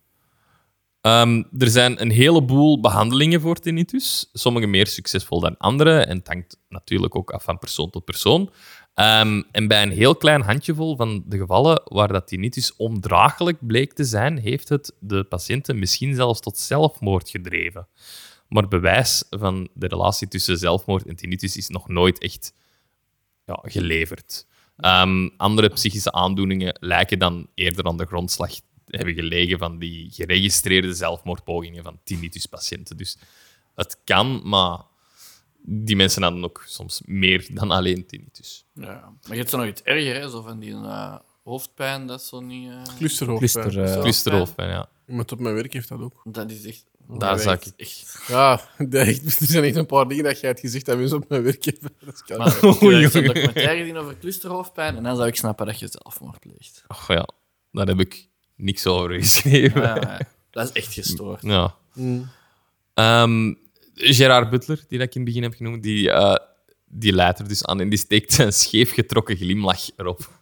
A: Ehm, er zijn een heleboel behandelingen voor tinnitus. Sommige meer succesvol dan andere. En het hangt natuurlijk ook af van persoon tot persoon. Ehm, en bij een heel klein handjevol van de gevallen waar dat tinnitus ondraaglijk bleek te zijn, heeft het de patiënten misschien zelfs tot zelfmoord gedreven. Maar bewijs van de relatie tussen zelfmoord en tinnitus is nog nooit echt ja, geleverd. Ehm, andere psychische aandoeningen lijken dan eerder aan de grondslag te hebben gelegen van die geregistreerde zelfmoordpogingen van tinnituspatiënten. Dus het kan, maar die mensen hadden ook soms meer dan alleen tinnitus.
D: Ja. Maar je hebt zo nog iets erger, hè? Zo van die eh, hoofdpijn, dat is zo niet... eh,
C: Clusterhoofd.
B: Cluster,
C: hè.
B: eh,
D: Hoofdpijn.
A: Clusterhoofdpijn, ja.
C: Iemand op mijn werk heeft dat ook.
D: Dat is echt...
A: Daar
C: dat
A: zak ik.
D: echt
C: Ja, dat- er zijn echt een paar dingen dat jij het gezegd hebt mensen op mijn werk hebben. Dat is
D: maar, ik heb echt een documentaire gezien over clusterhoofdpijn en dan zou ik snappen dat je zelfmoord pleegt.
A: Och ja, daar heb ik niks over geschreven.
D: Ja, ja. dat is echt gestoord.
A: Ja. Ehm, Gerard Butler, die dat ik in het begin heb genoemd, die eh, die leidt er dus aan en die steekt zijn scheef getrokken glimlach erop.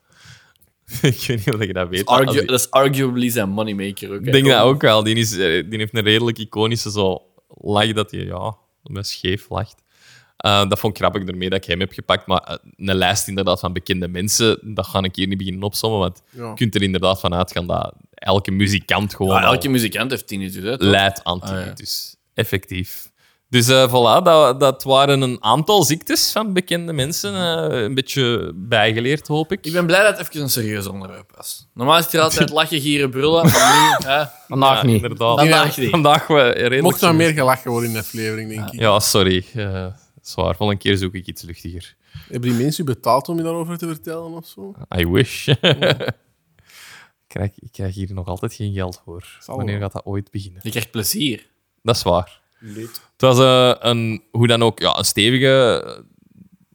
A: ik weet niet of je dat weet. maar als
D: Argu-
A: die-
D: dat is arguably zijn moneymaker ook. hè.
A: Ik denk dat ook wel. Die, is, eh, die heeft een redelijk iconische zo lach dat hij ja, met scheef lacht. Eh, dat vond ik grappig ermee dat ik hem heb gepakt. Maar eh, een lijst inderdaad van bekende mensen, dat ga ik hier niet beginnen opzommen. Want
C: Ja.
A: je kunt er inderdaad van uitgaan dat elke muzikant gewoon
D: Ja,
A: al
D: Ah, elke muzikant heeft tinnitus. Hè, toch?
A: leidt aan
D: Ah, ja.
A: tinnitus. dus Effectief. Dus eh, voilà, dat, dat waren een aantal ziektes van bekende mensen. eh, een beetje bijgeleerd, hoop ik.
D: Ik ben blij dat het even een serieus onderwerp was. Normaal is het hier altijd lachen, gieren, brullen. Maar nu, hè,
B: Vandaag
A: Ja,
B: niet.
A: Inderdaad.
D: Vandaag niet.
A: Vandaag we redelijk
C: Mocht daar meer gelachen worden in de aflevering, denk ik.
A: Ja, sorry. eh zwaar. Volgende keer zoek ik iets luchtiger.
C: Hebben die mensen u betaald om je daarover te vertellen of zo?
A: I wish. ik, krijg, ik krijg hier nog altijd geen geld voor.
C: Zal
A: Wanneer
C: wel.
A: gaat dat ooit beginnen?
D: je krijgt plezier.
A: Dat is waar. Het was eh, een, hoe dan ook, ja, een stevige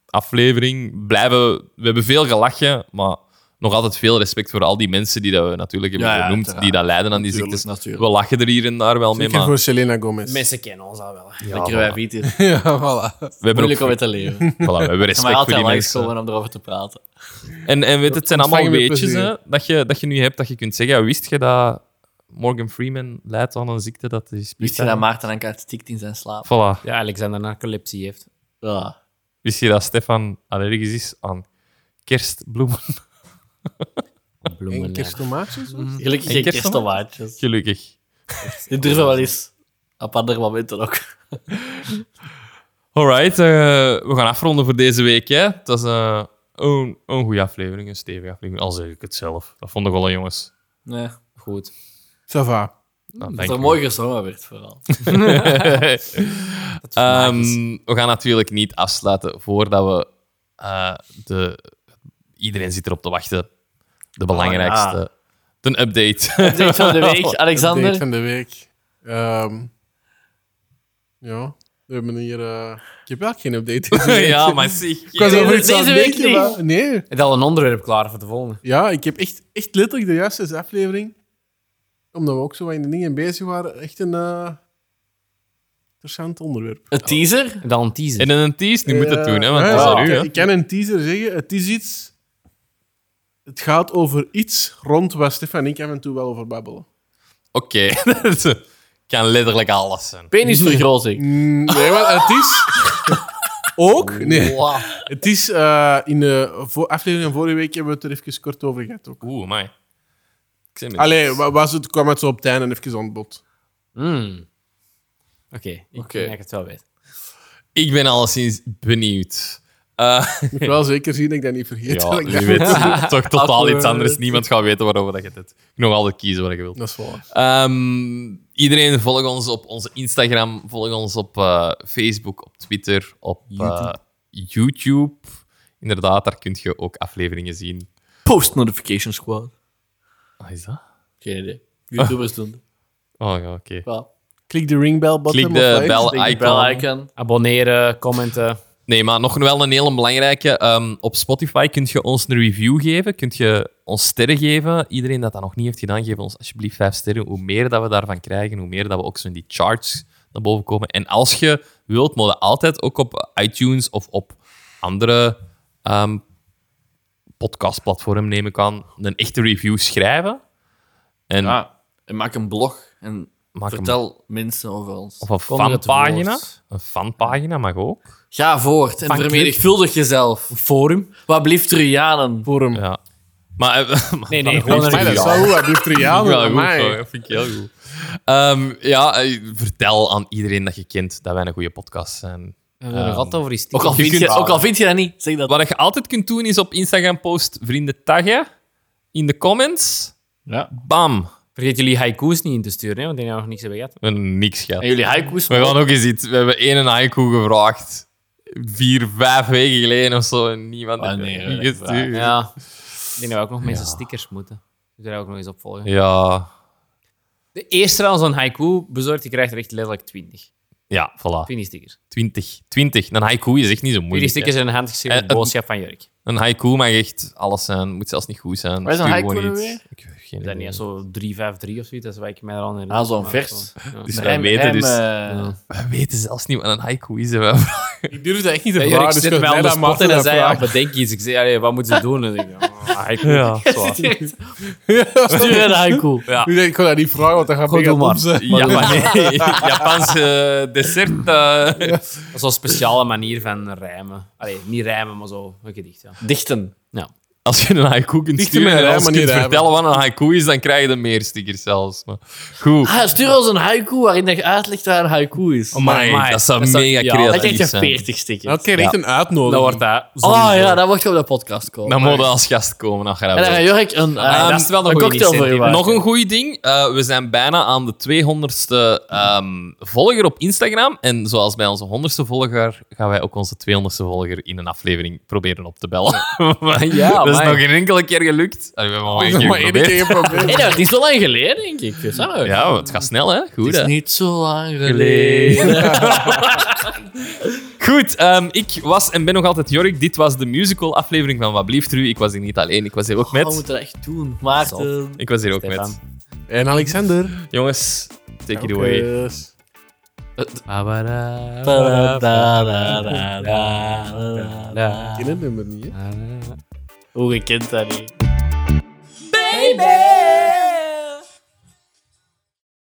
A: aflevering. Blijven, we hebben veel gelachen, maar nog altijd veel respect voor al die mensen die dat we natuurlijk hebben
D: Ja, ja,
A: genoemd,
D: uiteraard.
A: die dat lijden aan die
D: Natuurlijk,
A: ziektes.
D: natuurlijk.
A: We lachen er hier en daar wel mee,
C: Zeker
A: maar
C: voor Selena Gomez.
E: Mensen kennen ons al wel. hè.
A: ja,
D: Lekker
A: voilà.
D: wij bieten.
C: Ja, voilà.
A: we hebben ook
D: Moeilijk om het te leren.
A: voilà, we hebben
D: Maar
A: respect voor
D: altijd
A: die
D: langs
A: mensen.
D: komen om erover te praten.
A: En, en weet, het zijn
C: ontvangen
A: allemaal
C: met
A: weetjes
C: plezier.
A: hè, dat, je, dat je nu hebt dat je kunt zeggen. Wist je dat Morgan Freeman lijdt aan een ziekte dat is
D: Wist je dat Maarten Ankaart stikt in zijn slaap?
A: Voilà.
B: Ja, Alexander narcolepsie heeft.
D: Ja.
A: Wist je dat Stefan allergisch is aan kerstbloemen?
B: Bloemen.
C: En kersttomaatjes? of?
D: Gelukkig
A: En kersttomaatjes.
D: geen kersttomaatjes.
A: Gelukkig.
D: Dit durven wel eens. Op andere momenten ook.
A: Alright, eh, we gaan afronden voor deze week. Hè. Het was eh, een, een goede aflevering, een stevige aflevering. Al zeg ik het zelf. Dat vond ik wel, jongens.
D: Nee.
B: Goed.
C: Ça va.
A: Nou,
D: Dat
A: dank
D: er
A: u.
D: mooi gezongen werd, vooral.
A: Ehm, we gaan natuurlijk niet afsluiten voordat we eh, de. Iedereen zit erop te wachten. De belangrijkste. De update.
D: Update van Ah, de week,
C: Date
D: Alexander.
C: van de week. Ehm, ja, we hebben hier... eh, Ik heb eigenlijk geen update deze week.
A: ja, maar zie.
C: Ik was over iets
D: Deze
C: aan het
D: week
C: denken,
D: niet.
C: maar- Nee.
B: Het al een onderwerp klaar voor de volgende.
C: Ja, ik heb echt, echt letterlijk de juiste aflevering, omdat we ook zo wat in de dingen bezig waren, echt een eh, interessant onderwerp.
D: Een teaser?
B: Het al een teaser.
A: En in een tease, nu moet het
C: Eh,
A: doen, hè, want
C: ja,
A: dat is
C: ja,
A: aan u.
C: ik-
A: Hè.
C: Ik kan een teaser zeggen. Het is iets... Het gaat over iets rond waar Stefan en ik af en toe wel over babbelen.
A: Oké, het kan letterlijk alles zijn.
D: Penisvergroting.
C: Mm, Nee, maar het is... ook? Nee. Het is... eh, in de vo- aflevering van vorige week hebben we het er even kort over gehad ook.
A: Oeh, mij. Ik zit met-
C: Allee, wa- was het, kwam het zo op het einde even aan het bod.
B: Hmm. Oké, ik denk
D: Oké.
B: dat ik het wel weet.
A: Ik ben alleszins benieuwd. Eh,
C: Ik moet wel zeker zien dat ik dat niet vergeet.
A: ja,
C: dat ik dat-
A: je weet toch totaal iets anders. Niemand gaat weten waarover dat je het hebt. Nog altijd kiezen wat je wilt.
C: Dat is waar.
A: Ehm, iedereen volg ons op onze Instagram, volg ons op eh, Facebook, op Twitter, op eh, YouTube. Inderdaad, daar kun je ook afleveringen zien.
D: Post Notification Squad. Ah.
A: Ah, is dat?
D: Geen idee. YouTubers doen.
A: Oh ja, oké.
D: Wel.
C: Klik de ringbell button.
A: Klik
C: of
A: de
C: like.
A: bel
D: Denk
A: icon.
D: bel icon.
B: Abonneren, commenten.
A: Nee, maar nog wel een hele belangrijke. Ehm, op Spotify kun je ons een review geven, kun je ons sterren geven. Iedereen dat dat nog niet heeft gedaan, geef ons alsjeblieft vijf sterren. Hoe meer dat we daarvan krijgen, hoe meer dat we ook zo in die charts naar boven komen. En als je wilt, moet je altijd ook op iTunes of op andere ehm podcastplatformen, neem ik aan, een echte review schrijven. En
D: Ja. En Ah. maak een blog en
A: maak een-
D: vertel mensen over ons.
A: of een
B: Kondig het
A: fanpagina.
B: woord.
A: Een fanpagina mag ook.
D: Ga voort en
B: Fanclub.
D: vermenigvuldig jezelf.
B: Forum.
D: Wat blieft Trujanen?
C: Voor hem.
A: Ja. Maar, eh, maar-
B: Nee, nee, gewoon
C: Maar
B: een
C: dat
B: review.
C: is wel goed, dat doet Triaan.
A: Ja,
C: Ja,
A: goed, hoor. dat vind ik heel goed. Ehm, ja, eh, vertel aan iedereen dat je kent dat wij een goede podcast zijn.
B: We hebben er gehad over iets.
D: Ook al,
A: Je
D: vind je,
A: kunt-
D: ook al vind je dat niet, zeg dat.
A: Wat je altijd kunt doen is op Instagram post vrienden taggen in de comments.
D: Ja.
A: Bam.
B: Vergeet jullie haiku's niet in te sturen, hè, want die hebben nog niks hebben gehad.
A: We hebben niks
D: En
A: gehad.
D: jullie haiku's.
A: We gaan ook eens iets. We hebben één haiku gevraagd. Vier, vijf weken geleden of zo. En niemand
D: Ah,
A: heeft
D: nee,
A: er niet
D: dat is
A: gestuurd. Ja.
B: Ja. Ik denk dat we ook nog mensen stickers moeten. Dus daar ook nog eens op volgen.
A: ja.
B: De eerste trouwens een haiku bezorgt, die krijgt er echt letterlijk 20.
A: voilà.
B: 20 stickers.
A: 20. 20. Een haiku is echt niet zo
B: 20
A: moeilijk.
B: stickers
A: hè.
B: en een handgeschreven
A: Eh, het-
B: boodschap van Jurk.
A: Een haiku mag echt alles zijn. Moet zelfs niet goed zijn.
D: Waar is een
A: Stuur
D: haiku
A: gewoon
D: nu
A: iets.
D: weer?
A: Ik- geen
B: Is dat niet
A: idee.
B: echt zo 353 of zoiets? Dat is wat ik mij eraan herinner.
D: Ah, zo'n
B: Maar
D: vers.
B: zo,
A: Dus
B: ja.
A: wij weten dus-
B: Ja.
A: We weten zelfs niet wat een haiku is. hè, wij.
C: Ik durf dat echt niet te
B: Ja,
C: vragen.
B: Erik
C: dus
B: zit
C: ik
B: mij
C: had
B: aan de
C: net aan
B: spot
C: Maarten
B: en hij
C: dat
B: zei, ja,
C: vraag.
B: bedenk iets. Ik zei, allee, wat moeten ze doen? En ik denk, ah, ik
A: Ja.
B: zwaar.
E: Stuur een haiku.
C: Nu denk ik, ik ga dat niet vragen, want dan gaat
B: Goed,
C: mega
B: doe maar.
C: dom zijn.
A: Ja, maar nee. Japanse dessert. eh,
B: Dat is wel een speciale manier van rijmen. Allee, niet rijmen, maar zo een gedicht. Ja.
D: Dichten.
A: Als je een haiku kunt
C: Dichter
A: sturen
C: met
A: en
C: een
A: ons
C: rijm, maar
A: kunt
C: niet
A: vertellen wat een haiku is, dan krijg je meer stickers zelfs. Maar goed.
D: Ah, stuur ons een haiku waarin dat je uitlegt waar een haiku is.
A: Amai,
B: Amai,
A: dat zou
B: dat zou-
A: mega
B: ja,
D: dat krijg
A: creatief
D: je
A: zijn.
D: 40 stickers.
C: Dat kreeg echt een
B: Dan
C: uitnodiging.
B: wordt eh, dat...
D: Oh
B: sowieso-
D: ja, dan mocht je op de podcast komen.
A: Dan moet je als gast komen. Als je dat
D: En dan
A: wilt.
D: gaat Jurk een, eh,
A: Ah, dat is wel een goeie
D: cocktail voor je maken.
A: Nog een goed ding. eh, we zijn bijna aan de 200ste ehm, volger op Instagram. En zoals bij onze 100ste volger gaan wij ook onze 200ste volger in een aflevering proberen op te bellen. Maar
B: Ja,
A: dat is
B: amai.
A: nog geen enkele keer gelukt. Allee, we hebben al een
C: Nog
A: keer
C: maar één
A: geprobeerd.
C: keer geprobeerd.
D: Ah, Nee, dat is zo lang geleden, denk ik. Is dat nou?
A: Ja, maar het gaat snel, hè? Goed,
D: Het
A: hè?
D: is niet zo lang geleden.
A: Geleden. Goed, ehm, ik was en ben nog altijd Jorik. Dit was de musical aflevering van Wat blieft er u. Ik was hier niet alleen, ik was hier ook
D: Oh, We
A: met.
D: moeten dat echt doen. Maarten.
A: Ik was hier ook
B: Stefan.
A: met.
C: En Alexander.
A: Jongens, take it away.
C: Yes.
E: Da, da, da, da, da, da, da.
C: Ik ken het nummer niet, hè.
D: Hoe gekend dat niet?